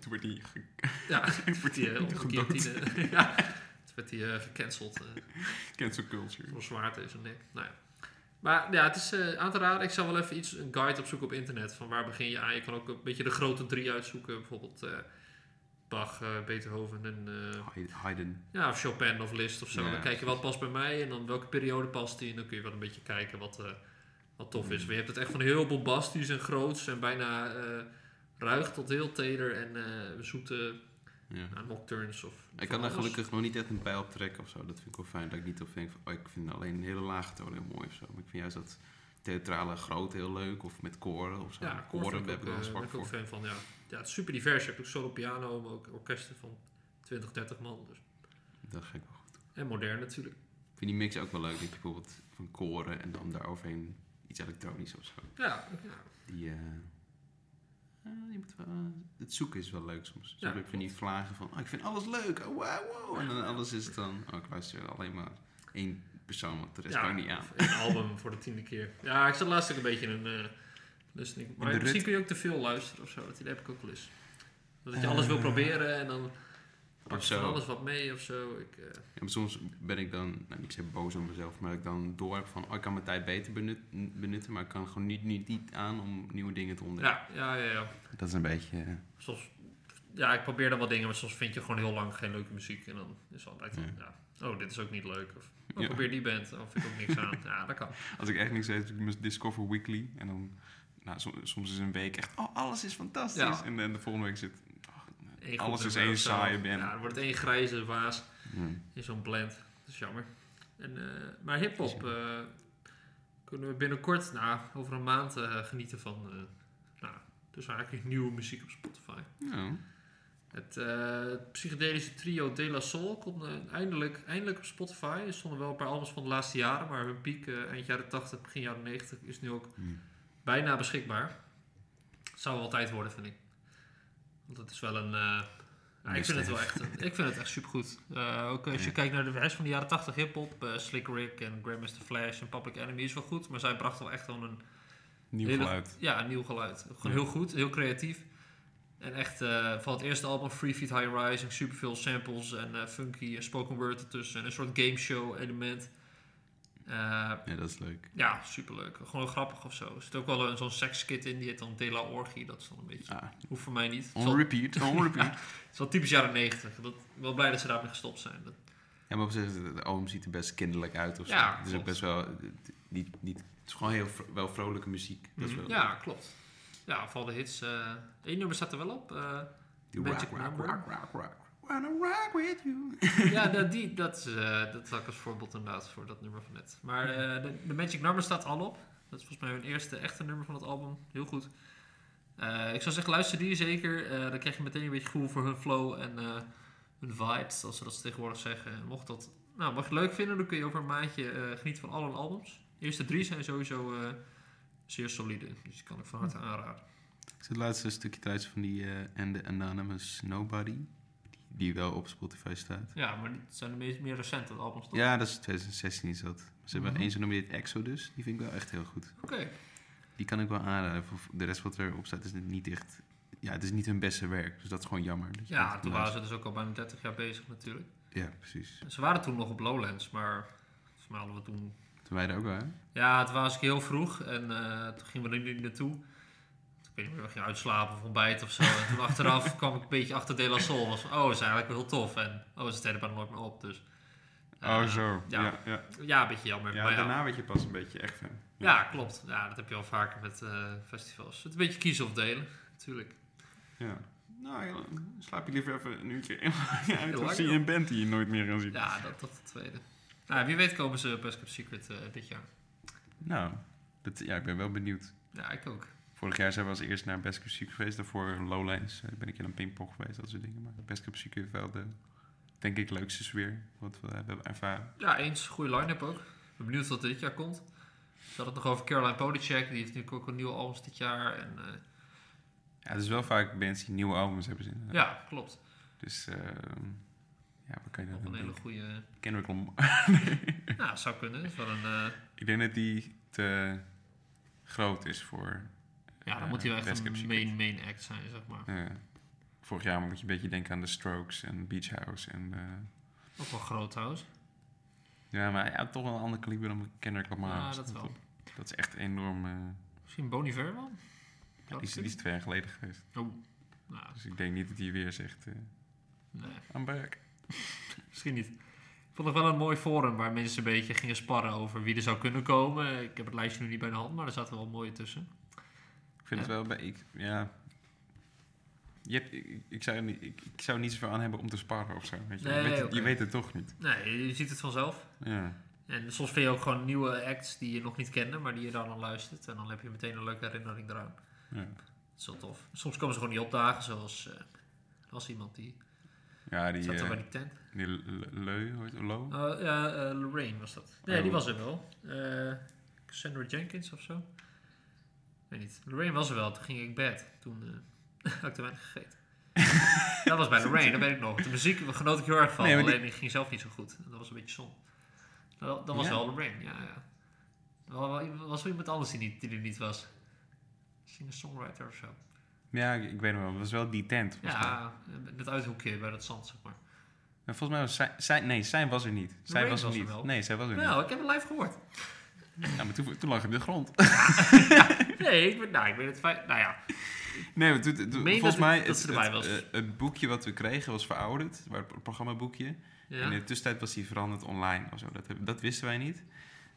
Speaker 1: Toen werd die ge-
Speaker 2: Ja, het werd die, eh, op een
Speaker 1: Gedood.
Speaker 2: guillotine. eh, *laughs* ja, het werd die eh, gecanceld. eh
Speaker 1: cancel culture.
Speaker 2: voor zwaard in zijn nek. Nou ja. Maar ja, het is eh, aan te raden. Ik zal wel even iets, een guide opzoeken op internet. Van waar begin je aan? Je kan ook een beetje de grote drie uitzoeken. Bijvoorbeeld eh, Bach, eh, Beethoven en eh,
Speaker 1: Hay- Haydn.
Speaker 2: ja, of Chopin of Liszt of zo.
Speaker 1: Ja,
Speaker 2: dan kijk je wat past bij mij en dan welke periode past die. En dan kun je wel een beetje kijken wat, eh, wat tof
Speaker 1: Mm.
Speaker 2: is. Maar je hebt het echt van heel bombastisch en groots en bijna eh, ruig tot heel teder en eh, zoete
Speaker 1: Ja.
Speaker 2: nou, nocturnes. Of
Speaker 1: Ik kan
Speaker 2: van
Speaker 1: daar
Speaker 2: alles.
Speaker 1: gelukkig nog niet echt een pijl op trekken of zo. Dat vind ik wel fijn. Dat ik niet op denk van, oh, ik vind alleen een hele lage toon heel mooi of zo. Maar ik vind juist dat theatrale groot heel leuk. Of met koren of zo.
Speaker 2: Ja, koor
Speaker 1: koren
Speaker 2: ben
Speaker 1: heb
Speaker 2: ik
Speaker 1: ik
Speaker 2: ook,
Speaker 1: wel
Speaker 2: eh,
Speaker 1: een
Speaker 2: ben
Speaker 1: zwak
Speaker 2: ik ook
Speaker 1: voor.
Speaker 2: fan van. Ja. ja, het is super divers. Je hebt ook solo piano, maar ook orkesten van 20, 30 man. Dus.
Speaker 1: Dat ga ik wel goed.
Speaker 2: En modern natuurlijk.
Speaker 1: Ik vind die mix ook wel leuk. Dat je bijvoorbeeld van koren en dan daaroverheen iets elektronisch of zo.
Speaker 2: Ja, ja.
Speaker 1: Die, eh, eh, je moet wel, eh, het zoeken is wel leuk soms. Soms
Speaker 2: Ja,
Speaker 1: heb je niet vlagen van, oh, ik vind alles leuk. Oh, wow, wow. En dan alles is het dan, oh, ik luister alleen maar één persoon, want de rest
Speaker 2: ja,
Speaker 1: kan ik niet aan.
Speaker 2: of Een album voor de tiende keer. Ja, ik zat laatst ook een beetje in een eh, listening. Maar
Speaker 1: de
Speaker 2: misschien
Speaker 1: rut.
Speaker 2: kun je ook te veel luisteren of zo. Dat idee heb ik ook wel eens. Dat je
Speaker 1: Eh,
Speaker 2: alles wil proberen en dan pak
Speaker 1: Of
Speaker 2: je van
Speaker 1: zo.
Speaker 2: alles wat mee of zo. Ik, eh,
Speaker 1: Ja, maar soms ben ik dan, nou, ik zeg boos op mezelf, maar dat ik dan door heb van, oh, ik kan mijn tijd beter benut- benutten, maar ik kan gewoon niet, niet, niet aan om nieuwe dingen te ontdekken.
Speaker 2: ja, ja, ja, ja.
Speaker 1: Dat is een beetje... eh,
Speaker 2: Soms, ja, ik probeer dan wat dingen, maar soms vind je gewoon heel lang geen leuke muziek. En dan is het altijd,
Speaker 1: Ja.
Speaker 2: ja. oh, dit is ook niet leuk. Of oh,
Speaker 1: Ja.
Speaker 2: probeer die band, dan vind ik ook niks aan.
Speaker 1: *laughs*
Speaker 2: Ja, dat kan.
Speaker 1: Als ik echt niks weet, doe ik mijn Discover Weekly. En dan, nou, som- soms is een week echt, oh, alles is fantastisch.
Speaker 2: Ja.
Speaker 1: En, en de volgende week zit, oh,
Speaker 2: Eén goed
Speaker 1: alles is
Speaker 2: nummer
Speaker 1: één
Speaker 2: of zo.
Speaker 1: saaie band.
Speaker 2: Ja, er wordt één grijze waas.
Speaker 1: Hm.
Speaker 2: in zo'n blend. Dat is jammer. En, eh, maar hip-hop eh, kunnen we binnenkort, nou, over een maand, eh, genieten van. eh nou, dus eigenlijk nieuwe muziek op Spotify.
Speaker 1: Nou,
Speaker 2: Het eh, psychedelische trio De La Soul komt eh, eindelijk, eindelijk op Spotify. Er stonden wel een paar albums van de laatste jaren, maar hun piek eh, eind jaren 80, begin jaren 90 is nu ook
Speaker 1: Hmm.
Speaker 2: bijna beschikbaar. Zou wel tijd worden, vind ik. Want het is wel een. eh, nou, ik vind het wel echt. Ik vind het echt supergoed. Eh ook als je
Speaker 1: Ja.
Speaker 2: kijkt naar de rest van de jaren 80 hip-hop, eh, Slick Rick en Grandmaster Flash en Public Enemy is wel goed, maar zij brachten wel echt wel een
Speaker 3: Nieuw
Speaker 2: Hele-
Speaker 3: geluid.
Speaker 2: ja, een nieuw geluid. Gewoon
Speaker 3: Ja.
Speaker 2: heel goed, heel creatief. En echt eh, van het eerste album Free Feet High Rising, superveel samples en eh, funky en spoken word ertussen. En een soort game show element. Eh,
Speaker 1: ja, dat is leuk.
Speaker 2: ja, superleuk. Gewoon grappig of zo. Er zit ook wel een- zo'n sekskit in, die heet dan De La Orgie. Dat is dan een beetje...
Speaker 1: Ah,
Speaker 2: Hoeft voor mij niet. Het is
Speaker 1: on
Speaker 2: wel,
Speaker 1: repeat, *laughs* on repeat.
Speaker 2: het is wel typisch jaren 90. Dat, wel blij dat ze daarmee gestopt zijn. Dat,
Speaker 1: ja, maar op zich, het album ziet er best kinderlijk uit of zo.
Speaker 2: Ja,
Speaker 1: het is ook
Speaker 2: klopt.
Speaker 1: best wel, het- niet, niet, het is gewoon heel vro- wel vrolijke muziek. Dat is
Speaker 2: Mhm.
Speaker 1: wel
Speaker 2: ja, klopt. Ja, vooral de hits. eh Eén nummer staat er wel op. eh,
Speaker 1: Die
Speaker 2: Magic
Speaker 1: rock, rock,
Speaker 2: number.
Speaker 1: rock, rock, rock. Wanna rock with you. *laughs*
Speaker 2: *laughs* Ja, dat, die, dat, is, eh, dat had ik als voorbeeld inderdaad voor dat nummer van net. Maar eh, de, de Magic Number staat al op. Dat is volgens mij hun eerste echte nummer van het album. Heel goed. Eh, ik zou zeggen, luister die zeker. Eh, dan krijg je meteen een beetje gevoel voor hun flow en eh, hun vibes, als ze dat tegenwoordig zeggen. En Mocht, dat, nou, mocht je het leuk vinden, dan kun je over een maandje eh, genieten van al hun albums. De eerste drie zijn sowieso eh, zeer solide. Dus die kan ik van harte aanraden.
Speaker 1: Ik zat laatst een stukje thuis van die eh, And the Anonymous Nobody, die, die wel op Spotify staat.
Speaker 2: Ja, maar dit zijn de meest, meer recente albums toch?
Speaker 1: Ja, dat is 2016 is dat. Ze hebben
Speaker 2: Mhm.
Speaker 1: één zo'n nummer die heet Exodus, die vind ik wel echt heel goed.
Speaker 2: Oké.
Speaker 1: Die kan ik wel aanraden. Voor- voor De rest wat erop staat is niet echt, ja, het is niet hun beste werk, dus dat is gewoon jammer. Dus dat
Speaker 2: Ja,
Speaker 1: is
Speaker 2: toen
Speaker 1: nice.
Speaker 2: waren ze dus ook al bijna 30 jaar bezig natuurlijk.
Speaker 1: Ja, precies.
Speaker 2: Ze waren toen nog op Lowlands, maar volgens mij hadden we toen...
Speaker 1: Toen wij er ook wel, hè?
Speaker 2: Ja, het was ik heel vroeg en eh, toen gingen we er niet naartoe. Ik weet niet meer, we gingen uitslapen of ontbijten of zo. En toen achteraf kwam ik een beetje achter De La Sol. Was, van, oh, dat is eigenlijk wel heel tof. En oh, ze steden bijna nooit meer op, dus... eh,
Speaker 3: Oh,
Speaker 1: Oh,
Speaker 2: Ja, ja. een beetje jammer. maar ja,
Speaker 3: werd je pas een beetje echt fan.
Speaker 2: ja, klopt. Ja, dat heb je al vaker met eh, festivals. Het is een beetje kiezen of delen, natuurlijk.
Speaker 3: Ja. Nou, ja, dan slaap je liever even een uurtje
Speaker 1: *laughs*
Speaker 2: *laughs*
Speaker 3: helemaal uit.
Speaker 2: Heel
Speaker 3: Of
Speaker 2: lang,
Speaker 3: zie je
Speaker 2: joh.
Speaker 3: een band die je nooit meer gaat zien.
Speaker 2: Ja, dat dat is het tweede. Nou, wie weet komen ze Best Cup Secret eh, dit jaar.
Speaker 1: Nou, dat, ja, ik ben wel benieuwd.
Speaker 2: Ja, ik ook.
Speaker 3: Vorig jaar zijn we als eerst naar Best Cup Secret geweest. Daarvoor Lowlands. Eh, ben ik in een pingpong geweest, dat soort dingen. Maar Best Cup Secret heeft wel de, denk ik, leukste sfeer. Wat we hebben ervaren.
Speaker 2: Ja, eens. Goede line-up ook. Ik ben benieuwd wat er dit jaar komt. Ze hadden het nog over Caroline Polachek. Die heeft nu ook een nieuwe albums dit jaar. En, eh,
Speaker 3: Ja, het is wel vaak bands die nieuwe albums hebben zin.
Speaker 2: ja, klopt.
Speaker 3: Dus, ehm, ja, wat kan je
Speaker 2: Nog
Speaker 3: nou
Speaker 2: een hele
Speaker 3: doen?
Speaker 2: goede...
Speaker 3: Kendrick Lamar.
Speaker 2: nou, zou kunnen. Is wel een, eh,
Speaker 3: *laughs* Ik denk dat die te groot is voor...
Speaker 2: ja, dan
Speaker 3: eh,
Speaker 2: moet hij wel echt
Speaker 3: Best Kept
Speaker 2: een
Speaker 3: Secret.
Speaker 2: main, main act zijn, zeg maar.
Speaker 3: Ja. eh, vorig jaar moet je een beetje denken aan de Strokes en Beach House. En, eh,
Speaker 2: Ook wel groot trouwens.
Speaker 3: ja, maar ja, toch wel een ander kaliber dan Kendrick Lamar.
Speaker 2: Ja,
Speaker 3: Dus
Speaker 2: dat wel.
Speaker 3: Dat is echt enorm... eh,
Speaker 2: Misschien Bon Iver wel?
Speaker 3: ja,
Speaker 2: Zou
Speaker 3: die, is,
Speaker 2: dat
Speaker 3: die is twee jaar geleden geweest.
Speaker 2: kunnen? Oh, nou,
Speaker 3: Dus ik denk niet dat hij weer zegt... eh
Speaker 2: nee.
Speaker 3: I'm back.
Speaker 2: Misschien niet. Ik vond het wel een mooi forum waar mensen een beetje gingen sparren over wie er zou kunnen komen. Ik heb het lijstje nu niet bij de hand, maar er zaten wel mooie tussen.
Speaker 3: Ik vind
Speaker 2: Ja.
Speaker 3: het wel bij... Ik, ja... Je hebt, ik, ik zou niet, ik, ik zou niet zoveel aan hebben om te sparren of zo. Weet je?
Speaker 2: Nee,
Speaker 3: je, weet het, je
Speaker 2: oké.
Speaker 3: weet het toch niet.
Speaker 2: Nee, je ziet het vanzelf.
Speaker 3: Ja.
Speaker 2: En soms vind je ook gewoon nieuwe acts die je nog niet kende, maar die je dan aan luistert. En dan heb je meteen een leuke herinnering eraan.
Speaker 3: ja.
Speaker 2: Dat is wel tof. Soms komen ze gewoon niet opdagen, zoals eh, als iemand die...
Speaker 3: Ja, die,
Speaker 2: zat er
Speaker 3: eh,
Speaker 2: bij die tent.
Speaker 3: die Le- Leu, hoe heet het? Lo?
Speaker 2: Oh, ja, eh, Lorraine was dat. Nee, die was er wel. Eh, Cassandra Jenkins of zo. Weet niet. Lorraine was er wel, toen ging ik bed. Toen eh *laughs* had ik te weinig
Speaker 3: *laughs*
Speaker 2: gegeten. dat was bij Lorraine, dat weet ik nog. De muziek genoot ik heel erg van,
Speaker 3: Nee, maar die-
Speaker 2: alleen die... ging zelf niet zo goed. Dat was een beetje zon. Dat, dat was
Speaker 3: Ja.
Speaker 2: wel Lorraine, ja. ja. Wel- wel- was er iemand anders die, niet, die er niet was? Singer-songwriter of zo.
Speaker 3: Ja, ik, ik weet nog wel. Het was wel die tent. volgens mij.
Speaker 2: Ja, eh, dat uithoekje bij dat zand, zeg maar.
Speaker 3: Oh, En volgens mij was zij, zij... Nee, zij was er niet. Zij
Speaker 2: Lorraine
Speaker 3: was er
Speaker 2: was er
Speaker 3: niet.
Speaker 2: wel.
Speaker 3: Nee, zij was er
Speaker 2: Nou, ik heb het live gehoord.
Speaker 3: niet. Ja, maar toen, toen lag ik op de grond.
Speaker 2: Nee, ik ben, nou, ik ben het fijn. Nou ja,
Speaker 3: Nee, maar toen, toen-
Speaker 2: meen
Speaker 3: volgens
Speaker 2: dat het-
Speaker 3: mij...
Speaker 2: dat
Speaker 3: het,
Speaker 2: ze erbij
Speaker 3: het,
Speaker 2: was.
Speaker 3: eh, het boekje wat we kregen was verouderd. waar- Het programmaboekje.
Speaker 2: ja.
Speaker 3: En in de tussentijd was die veranderd online of zo. Dat, heb- dat wisten wij niet.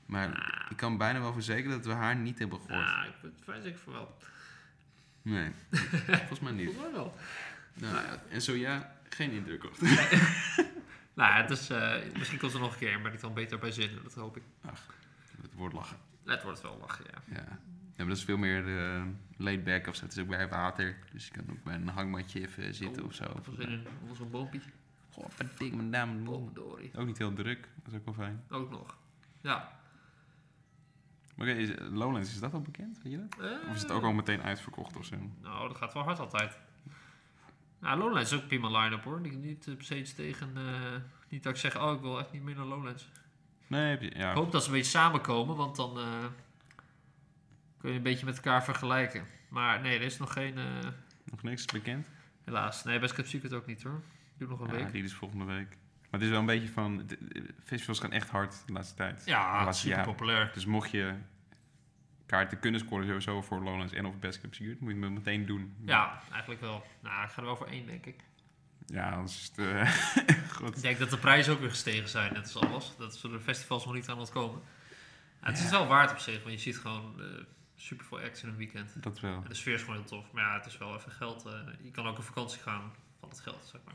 Speaker 3: Maar
Speaker 2: Ah.
Speaker 3: ik kan bijna wel verzekeren dat we haar niet hebben gehoord.
Speaker 2: Nou, ik ben het fijn zeker van wel. *laughs*
Speaker 1: Nee, volgens mij niet.
Speaker 2: Volgens mij wel.
Speaker 1: Nou, en zo ja, geen indruk op.
Speaker 2: Nou, het is, eh, misschien komt er nog een keer en ben ik dan beter bij zinnen. Dat hoop ik.
Speaker 1: Het woord lachen.
Speaker 2: Het wordt wel lachen, ja.
Speaker 1: Ja. ja, maar dat is veel meer eh laid back of zo. Het is ook bij water. Dus je kan ook bij een hangmatje even zitten of zo.
Speaker 2: Oh, Of in een, onder zo'n boompje.
Speaker 1: Goh, wat ding, mijn naam en mond.
Speaker 2: Boomdorie.
Speaker 3: Ook niet heel druk, dat is ook wel fijn.
Speaker 2: Ook nog. Ja.
Speaker 3: Maar oké, is- Lowlands, is dat al bekend? Weet je dat?
Speaker 2: Eh,
Speaker 3: Of is het ook al meteen uitverkocht of zo?
Speaker 2: Nou, dat gaat wel hard altijd. Nou, Lowlands is ook prima line-up hoor. Ik niet eh, per se iets tegen... eh, niet dat ik zeg, oh, ik wil echt niet meer naar Lowlands.
Speaker 3: Nee, heb je,
Speaker 2: Ik
Speaker 3: ja.
Speaker 2: hoop dat ze een beetje samenkomen, want dan eh, kun je een beetje met elkaar vergelijken. Maar nee, er is nog geen... eh,
Speaker 3: Nog niks bekend?
Speaker 2: helaas. Nee, Best Cap Secret ook niet hoor. Doe nog een
Speaker 3: Ja,
Speaker 2: week.
Speaker 3: die is volgende week. Maar het is wel een beetje van... de- de- Festivals gaan echt hard de laatste tijd.
Speaker 2: Ja,
Speaker 3: Laatste
Speaker 2: super
Speaker 3: jaar.
Speaker 2: populair.
Speaker 3: Dus mocht je kaarten kunnen scoren sowieso voor Lowlands en of Best Cup Secret, moet je het meteen doen.
Speaker 2: Ja, eigenlijk wel. Nou, ik ga er wel voor één, denk ik.
Speaker 3: Ja, anders is het... eh, *laughs* goed.
Speaker 2: Ik denk dat de prijzen ook weer gestegen zijn, net als alles. Dat zullen de festivals nog niet aan ontkomen. Ja, het is wel waard op zich, want je ziet gewoon eh super veel acts in een weekend.
Speaker 3: Dat wel.
Speaker 2: En de sfeer is gewoon heel tof. Maar ja, het is wel even geld. eh, je kan ook op vakantie gaan van het geld, zeg maar.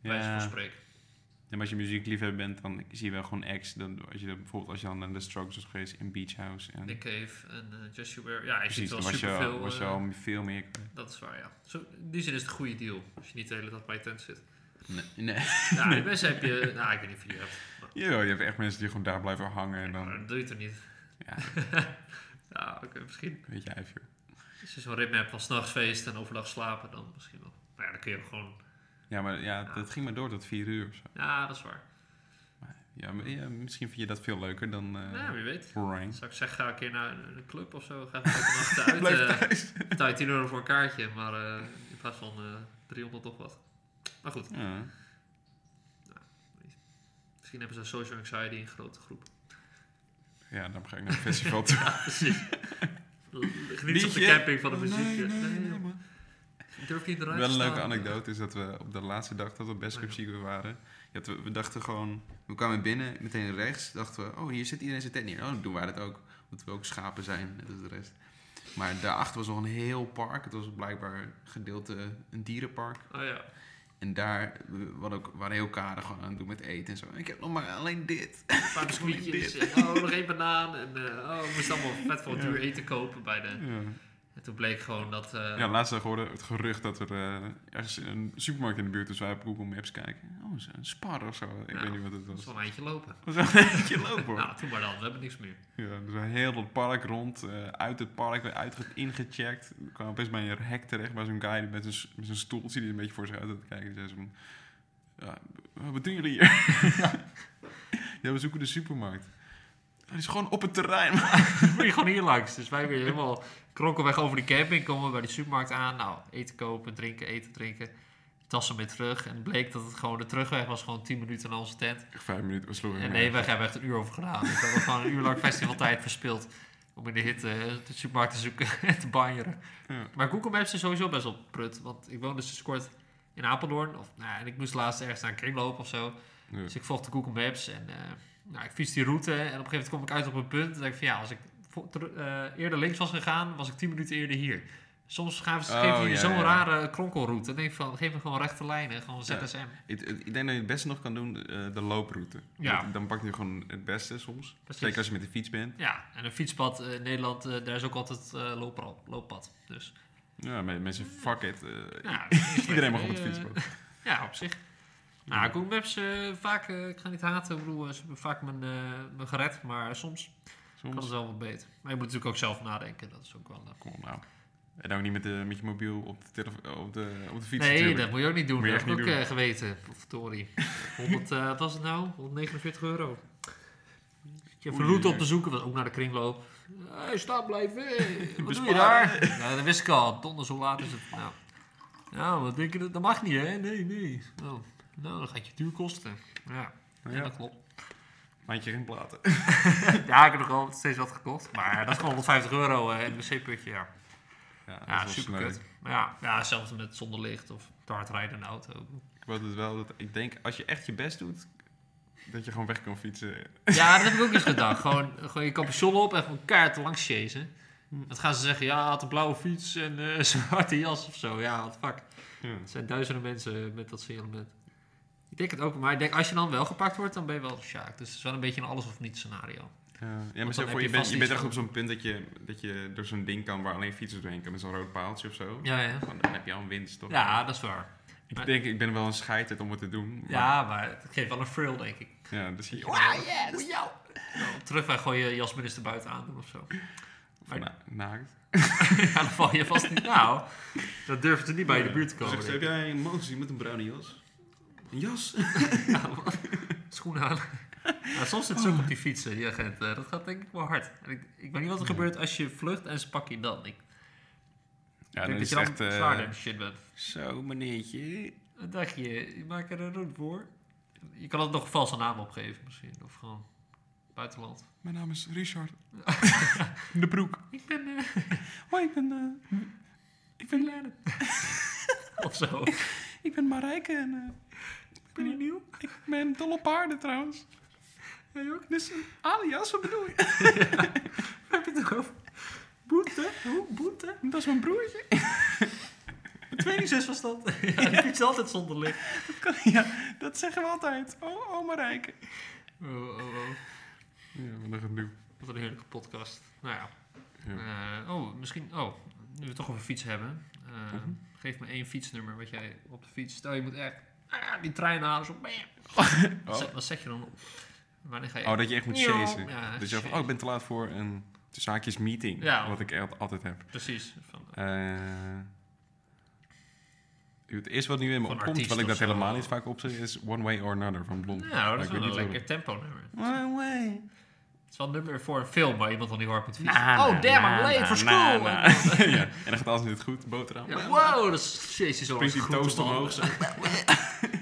Speaker 2: Bij wijze van
Speaker 3: Ja.
Speaker 2: spreken.
Speaker 3: Ja, maar als je muziekliefhebber bent, dan zie je wel gewoon acts. Dan, als je dan, bijvoorbeeld als je dan naar The Strokes was geweest in Beach House. En,
Speaker 2: Nick Cave en eh, Just You Wear. Ja, je
Speaker 3: precies,
Speaker 2: ziet wel eh,
Speaker 3: dan was je,
Speaker 2: super veel.
Speaker 3: was je al veel meer...
Speaker 2: dat is waar, ja. Zo, in die zin is het een goede deal. Als je niet de hele dag bij je tent zit.
Speaker 1: Nee, nee.
Speaker 2: Ja, de mensen heb je... Nou, ik weet niet of je die hebt.
Speaker 3: Jawel, je hebt echt mensen die gewoon daar blijven hangen. En
Speaker 2: Maar
Speaker 3: dan,
Speaker 2: dat doe je toch niet? *laughs*
Speaker 3: Ja.
Speaker 2: ja, oké, misschien.
Speaker 3: weet je, even,
Speaker 2: Als je zo'n ritme hebt van s'nachts feest en overdag slapen, dan misschien wel. Maar ja, dan kun je gewoon...
Speaker 3: Ja, maar ja, dat ging maar door tot vier uur of zo.
Speaker 2: Ja, dat is waar.
Speaker 3: Ja, maar, ja, misschien vind je dat veel leuker dan... eh
Speaker 2: nou, wie weet.
Speaker 3: Roaring.
Speaker 2: Zou ik zeggen, ga een keer naar een, een club of zo. Ga even een
Speaker 3: *laughs*
Speaker 2: nacht uit.
Speaker 3: Blijf
Speaker 2: eh,
Speaker 3: thuis.
Speaker 2: Betaal je 10 euro voor een kaartje, maar eh, in plaats van eh 300 of wat. Maar goed,
Speaker 3: Ja.
Speaker 2: misschien hebben ze social anxiety in grote groepen.
Speaker 3: Ja, dan ga ik naar een
Speaker 2: *laughs*
Speaker 3: festival toe.
Speaker 2: Ja, precies. Geniet op de
Speaker 3: Liedje.
Speaker 2: camping van de muziek. eh,
Speaker 3: Nee, nee,
Speaker 2: Nee,
Speaker 3: nee, man.
Speaker 2: Ik Durf niet eruit
Speaker 3: Wel
Speaker 2: te
Speaker 3: een leuke
Speaker 2: staan. Oh,
Speaker 3: anekdote is dat we op de laatste dag dat we best Cup Secret waren. Je had- we, we dachten gewoon,
Speaker 1: We kwamen binnen, meteen rechts. Dachten we, oh, hier zit iedereen zijn tent neer. Oh, dan doen wij dat ook. Omdat we ook schapen zijn, net als de rest. Maar daarachter was nog een heel park. Het was blijkbaar een gedeelte een dierenpark.
Speaker 2: Oh ja.
Speaker 1: En daar we hadden ook, we waren heel karig gewoon aan het doen met eten en zo. Ik heb nog maar alleen dit.
Speaker 2: Een paar biscuitjes. en, oh, nog één banaan. En, eh, oh, we moesten allemaal vet veel
Speaker 3: Ja.
Speaker 2: duur eten kopen bij de...
Speaker 3: ja,
Speaker 2: En toen bleek gewoon dat... eh,
Speaker 3: ja laatst dag hoorde het gerucht dat er eh, ergens een supermarkt in de buurt is. Wij op Google Maps kijken. Oh, een spar of zo. Ik
Speaker 2: Ja.
Speaker 3: weet niet wat het
Speaker 2: dat
Speaker 3: was. *laughs*
Speaker 2: is wel een eindje lopen.
Speaker 3: Dat was wel een beetje lopen hoor.
Speaker 2: Nou, toen maar dan. We hebben niks meer.
Speaker 3: Ja, dus we heel het park rond, eh, uit het park, weer uitge- ingecheckt. Ik kwam opeens bij een hek terecht bij zo'n guy die met zijn, met zijn stoeltje die een beetje voor zich uit aan het kijken. Die zei zo van, ja, w- wat doen jullie hier? *laughs* ja, we zoeken de supermarkt. Hij is gewoon op het terrein. *laughs*
Speaker 2: Dan moet je gewoon hier langs. Dus wij weer helemaal kronkelweg over die camping. Komen we bij die supermarkt aan. Nou, eten kopen, drinken, eten, drinken. Tassen mee terug. En het bleek dat het gewoon de terugweg was. Gewoon 10 minuten naar onze tent.
Speaker 3: Echt Vijf minuten, we sloegen
Speaker 2: En
Speaker 3: hem
Speaker 2: de heenweg hebben we echt een uur over gedaan. Dus we hebben gewoon een uur lang festivaltijd verspild. Om in de hitte eh, de supermarkt te zoeken *laughs* en te banjeren.
Speaker 3: Ja.
Speaker 2: Maar Google Maps is sowieso best wel prut. Want ik woon dus sinds kort in Apeldoorn. Of, nou, ja, en ik moest laatst ergens naar een kring lopen of zo.
Speaker 3: Ja.
Speaker 2: Dus ik volgde Google Maps en eh, nou, ik fiets die route. En op een gegeven moment kom ik uit op een punt. En denk ik van ja, als ik vo- ter- eh, eerder links was gegaan, was ik 10 minuten eerder hier. Soms gaven ze
Speaker 3: Oh,
Speaker 2: geven ze je
Speaker 3: ja,
Speaker 2: zo'n
Speaker 3: ja.
Speaker 2: rare kronkelroute. Dan denk ik van, geef me gewoon rechte lijnen. Gewoon
Speaker 3: Ja.
Speaker 2: ZSM.
Speaker 3: Ik, ik denk dat je het beste nog kan doen, eh, de looproute.
Speaker 2: Ja.
Speaker 3: Want Dan pak je gewoon het beste soms.
Speaker 2: Precies.
Speaker 3: Zeker als je met de fiets bent.
Speaker 2: Ja, en een fietspad eh, in Nederland, eh, daar is ook altijd eh looppad, looppad. Dus
Speaker 3: Ja, met- mensen, fuck it. eh,
Speaker 2: ja,
Speaker 3: Iedereen mag op het
Speaker 2: eh,
Speaker 3: fietspad.
Speaker 2: Ja, op zich. Nou, Google Maps, eh, vaak, eh, ik ga niet haten, ik bedoel, eh, ze hebben vaak mijn, eh, mijn gered, maar soms kan
Speaker 3: Soms.
Speaker 2: het wel wat beter. Maar je moet natuurlijk ook zelf nadenken, dat is ook wel... eh,
Speaker 3: Kom op nou. En ook niet met, de, met je mobiel op de, telefo- op de, op de fiets
Speaker 2: nee,
Speaker 3: natuurlijk.
Speaker 2: dat moet je ook niet doen,
Speaker 3: Moet je
Speaker 2: dat
Speaker 3: echt
Speaker 2: heb ik ook
Speaker 3: niet
Speaker 2: eh, geweten, Tori. 100, eh, wat was het nou? 149 euro. Ik heb een
Speaker 3: Oei,
Speaker 2: route op
Speaker 3: ja.
Speaker 2: te zoeken, was ook naar de kringloop. Hé, hey, sta blijven. Wat doe je daar?
Speaker 3: Besparen.
Speaker 2: Nou, dat wist ik al. Donders, hoe laat is het? Nou, nou wat denk je? Dat, dat mag niet, hè? Nee, nee. Nou, nou, dat gaat je duur kosten. Ja, ja,
Speaker 3: Nou ja,
Speaker 2: dat klopt.
Speaker 3: maandje geen platen.
Speaker 2: *laughs* Ja, ik heb nog wel steeds wat gekocht. Maar dat is gewoon 150 euro eh, in een wc-putje, ja.
Speaker 3: dat eh,
Speaker 2: Ja,
Speaker 3: is wel
Speaker 2: super
Speaker 3: sneu.
Speaker 2: kut. Maar ja, ja, zelfs met zonder licht of te hard rijden in de auto.
Speaker 3: Ik wou het wel dat ik denk, als je echt je best doet, dat je gewoon weg kan fietsen.
Speaker 2: Ja, dat heb ik ook eens gedacht. Gewoon, gewoon je capuchon op en gewoon kaart langs chasen. Wat gaan ze zeggen? Ja, hij had een blauwe fiets en eh, *laughs* een zwarte jas of zo. Ja, wat fuck.
Speaker 3: Ja.
Speaker 2: Het zijn duizenden mensen met dat signalement. Ik denk het ook. Maar ik denk, als je dan wel gepakt wordt, dan ben je wel de Sjaak. Dus het is wel een beetje een alles of niets scenario.
Speaker 3: Ja, ja maar
Speaker 2: dan
Speaker 3: stel
Speaker 2: heb
Speaker 3: voor,
Speaker 2: je
Speaker 3: je, bent,
Speaker 2: vast
Speaker 3: je bent
Speaker 2: iets
Speaker 3: echt op zo'n punt dat je, dat je door zo'n ding kan waar alleen fietsers doorheen kunnen met zo'n rood paaltje of zo.
Speaker 2: Ja, ja.
Speaker 3: Dan, dan heb je al een winst, toch?
Speaker 2: ja dat is waar.
Speaker 3: Ik denk, ik ben wel een scheid om het te doen. maar-
Speaker 2: Ja, maar het geeft wel een thrill, denk ik.
Speaker 3: Ja, dus je...
Speaker 2: Wauw, yeah, dat is jou. Op terugweg gooi je jasminister buiten aan doen of *laughs* zo.
Speaker 3: Of na- naakt.
Speaker 2: ja, dan val je vast niet. Nou, dat durft er niet bij de buurt te komen.
Speaker 3: Dus
Speaker 1: Zegt ze,
Speaker 2: denk
Speaker 1: heb
Speaker 2: ik.
Speaker 1: jij een motie met een bruine jas? Een jas?
Speaker 2: Ja, man. Schoenen aan. Ja, soms zit ze ook op die fietsen, die agent. Eh, Dat gaat denk ik wel hard. En ik, ik weet niet wat er gebeurt als je vlucht en ze pakken je dan. Ik
Speaker 3: Ja,
Speaker 2: denk dat je dan
Speaker 3: eh,
Speaker 2: zwaarder in de shit bent.
Speaker 3: Zo, meneertje.
Speaker 2: Wat dacht je? Je maakt er een roet voor. Je kan het nog een valse naam opgeven misschien. Of gewoon buitenland.
Speaker 3: Mijn naam is Richard. de broek.
Speaker 2: Ik ben... eh,
Speaker 3: Hoi, ik ben... eh, ik ben
Speaker 2: of *laughs* zo.
Speaker 3: Ik ben Marijke en... eh, ik ben nieuw. Ik ben dol op paarden trouwens. Jij ook? Dus eh, alias, wat bedoel je?
Speaker 2: Waar heb je het over? Boete? Hoe? Boete?
Speaker 3: Dat is mijn broertje.
Speaker 2: Mijn tweede zus was dat. *laughs* ja, die fietst altijd zonder licht.
Speaker 3: Dat, kan, ja, dat zeggen we altijd. Oh, oh Marijke.
Speaker 2: Oh, oh, oh.
Speaker 3: Ja, wat een gedoe.
Speaker 2: Wat een heerlijke podcast. Nou ja.
Speaker 3: Ja.
Speaker 2: Eh, oh, misschien... Oh, nu we het toch over fiets hebben. Eh,
Speaker 3: Mhm.
Speaker 2: Geef me één fietsnummer wat jij op de fiets... Stel, je moet echt ah, die trein halen. Zo,
Speaker 3: *laughs*
Speaker 2: bam. Wat, zet, wat zet je dan op? Wanneer ga je...
Speaker 3: Oh, dat je echt moet
Speaker 2: Ja,
Speaker 3: chasen.
Speaker 2: ja,
Speaker 3: dat je zegt,
Speaker 2: chasen.
Speaker 3: oh, ik ben te laat voor een tussen haakjes meeting.
Speaker 2: Ja.
Speaker 3: Wat ik echt altijd heb.
Speaker 2: Precies. Van,
Speaker 3: Eh, het eerste wat nu in me
Speaker 2: Van
Speaker 3: opkomt, terwijl ik dat
Speaker 2: artiest of zo.
Speaker 3: helemaal niet vaak opzet, is One Way or Another van Blond.
Speaker 2: nou, dat is
Speaker 3: Maar ik
Speaker 2: wel een
Speaker 3: weet niet
Speaker 2: lekker tempo nummer.
Speaker 3: waarom. One Way.
Speaker 2: Het is wel een nummer voor een film waar iemand dan niet hard moet fietsen.
Speaker 3: Na,
Speaker 2: oh,
Speaker 3: na,
Speaker 2: damn,
Speaker 3: na,
Speaker 2: I'm late
Speaker 3: na,
Speaker 2: for
Speaker 3: na,
Speaker 2: school.
Speaker 3: na.
Speaker 2: En *laughs* dan-
Speaker 3: ja, en dan gaat alles niet goed, boterham.
Speaker 2: Ja, wow, dat is jezus zo
Speaker 3: Springt die toast
Speaker 2: *laughs*
Speaker 3: omhoog. Zo.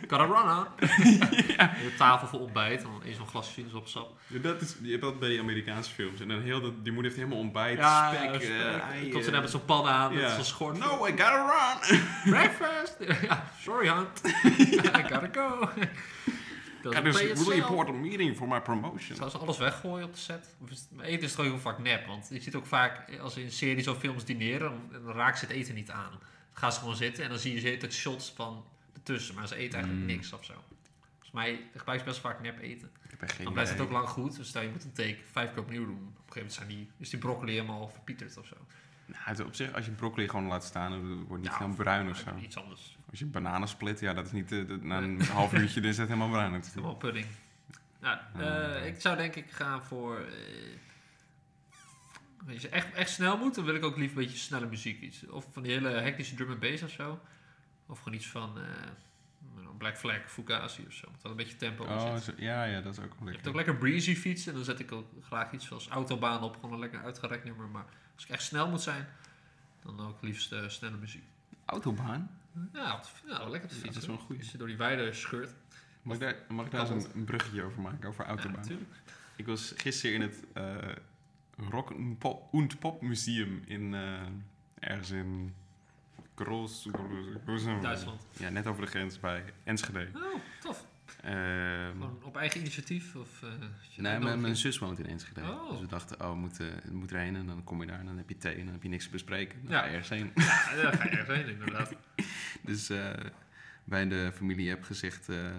Speaker 2: Kan run on.
Speaker 3: *laughs*
Speaker 2: De tafel voor ontbijt en dan eens een glas sinaasappelsap.
Speaker 1: Ja, dat is, je hebt dat bij die Amerikaanse films. En dan heel dat, die moeder heeft helemaal ontbijt,
Speaker 2: Ja,
Speaker 1: spek,
Speaker 2: spek,
Speaker 1: eh, ei,
Speaker 2: Komt ze
Speaker 1: eh,
Speaker 2: daar met zo'n pan aan,
Speaker 1: ja.
Speaker 2: met zo'n schort.
Speaker 1: No, I gotta run!
Speaker 2: breakfast. *laughs* ja, sorry
Speaker 3: *laughs*
Speaker 2: hunt. I *laughs* gotta go. Dat
Speaker 3: Ja,
Speaker 2: is
Speaker 3: dus
Speaker 2: pay
Speaker 3: really
Speaker 2: yourself.
Speaker 3: important meeting for my promotion.
Speaker 2: Zou ze alles weggooien op de set? Of is het- maar eten is toch heel vaak nep, want je ziet ook vaak als ze in series of films dineren, dan, dan raakt ze het eten niet aan. Dan gaan ze gewoon zitten en dan zie je ze het shots van ertussen, maar ze eten eigenlijk
Speaker 3: Mm.
Speaker 2: niks of zo. Volgens mij gebruiken ze best vaak nep eten.
Speaker 3: Ik heb echt geen
Speaker 2: Dan blijft het
Speaker 3: idee.
Speaker 2: ook lang goed. Dus stel je moet een take vijf keer opnieuw doen. Op een gegeven moment zijn die, is die broccoli helemaal verpieterd of zo.
Speaker 3: Nou, het- op zich, als je broccoli gewoon laat staan, dan wordt niet
Speaker 2: Ja,
Speaker 3: helemaal bruin of zo.
Speaker 2: Iets anders.
Speaker 3: Als je bananen split, ja, dat is niet... eh, dat- na een half uurtje dan is het helemaal
Speaker 2: *laughs*
Speaker 3: bruin natuurlijk.
Speaker 2: Helemaal pudding. Ja,
Speaker 3: Ah,
Speaker 2: eh, ik zou denk ik gaan voor... eh, als je echt, echt snel moet, dan wil ik ook liever een beetje snelle muziek. Iets. Of van die hele hectische drum and bass of zo. Of gewoon iets van eh, Black Flag of Fugazi of zo. Met wel een beetje tempo in
Speaker 3: Oh,
Speaker 2: zit.
Speaker 3: zo- ja, ja, dat is ook wel
Speaker 2: Je hebt
Speaker 3: lekker.
Speaker 2: ook lekker breezy fietsen. En dan zet ik ook graag iets als autobaan op. Gewoon een lekker uitgerekt nummer. Maar als ik echt snel moet zijn, dan ook liefst eh, snelle muziek. Nou,
Speaker 3: Autobaan?
Speaker 2: Ja, op de fi- ja, lekker op de
Speaker 3: Ja,
Speaker 2: fiets.
Speaker 3: dat is
Speaker 2: hoor.
Speaker 3: wel een goeie.
Speaker 2: Als je door die weide scheurt.
Speaker 3: Mag ik daar, mag ik daar eens een, een bruggetje over maken, over
Speaker 2: Ja,
Speaker 3: autobaan?
Speaker 2: natuurlijk.
Speaker 3: ik was gisteren in het eh, Rock und Pop, und Pop Museum in eh, ergens in Kroos,
Speaker 2: Duitsland.
Speaker 3: Ja, net over de grens bij Enschede.
Speaker 2: Oh, tof.
Speaker 3: Ehm,
Speaker 2: Gewoon op eigen initiatief? Of, eh, had je
Speaker 1: Mm. Nee, mijn,
Speaker 2: een
Speaker 1: mijn
Speaker 2: uitnodiging?
Speaker 1: zus woont in Enschede.
Speaker 2: Oh.
Speaker 1: Dus we dachten, oh, we moeten, we moeten erheen. En dan kom je daar en dan heb je thee en dan heb je niks te bespreken. Dan
Speaker 2: Ja.
Speaker 1: ga je ergens heen. *laughs*
Speaker 2: Ja, daar ga je ergens heen, inderdaad.
Speaker 1: Dus eh, bij de familie heb gezegd... eh,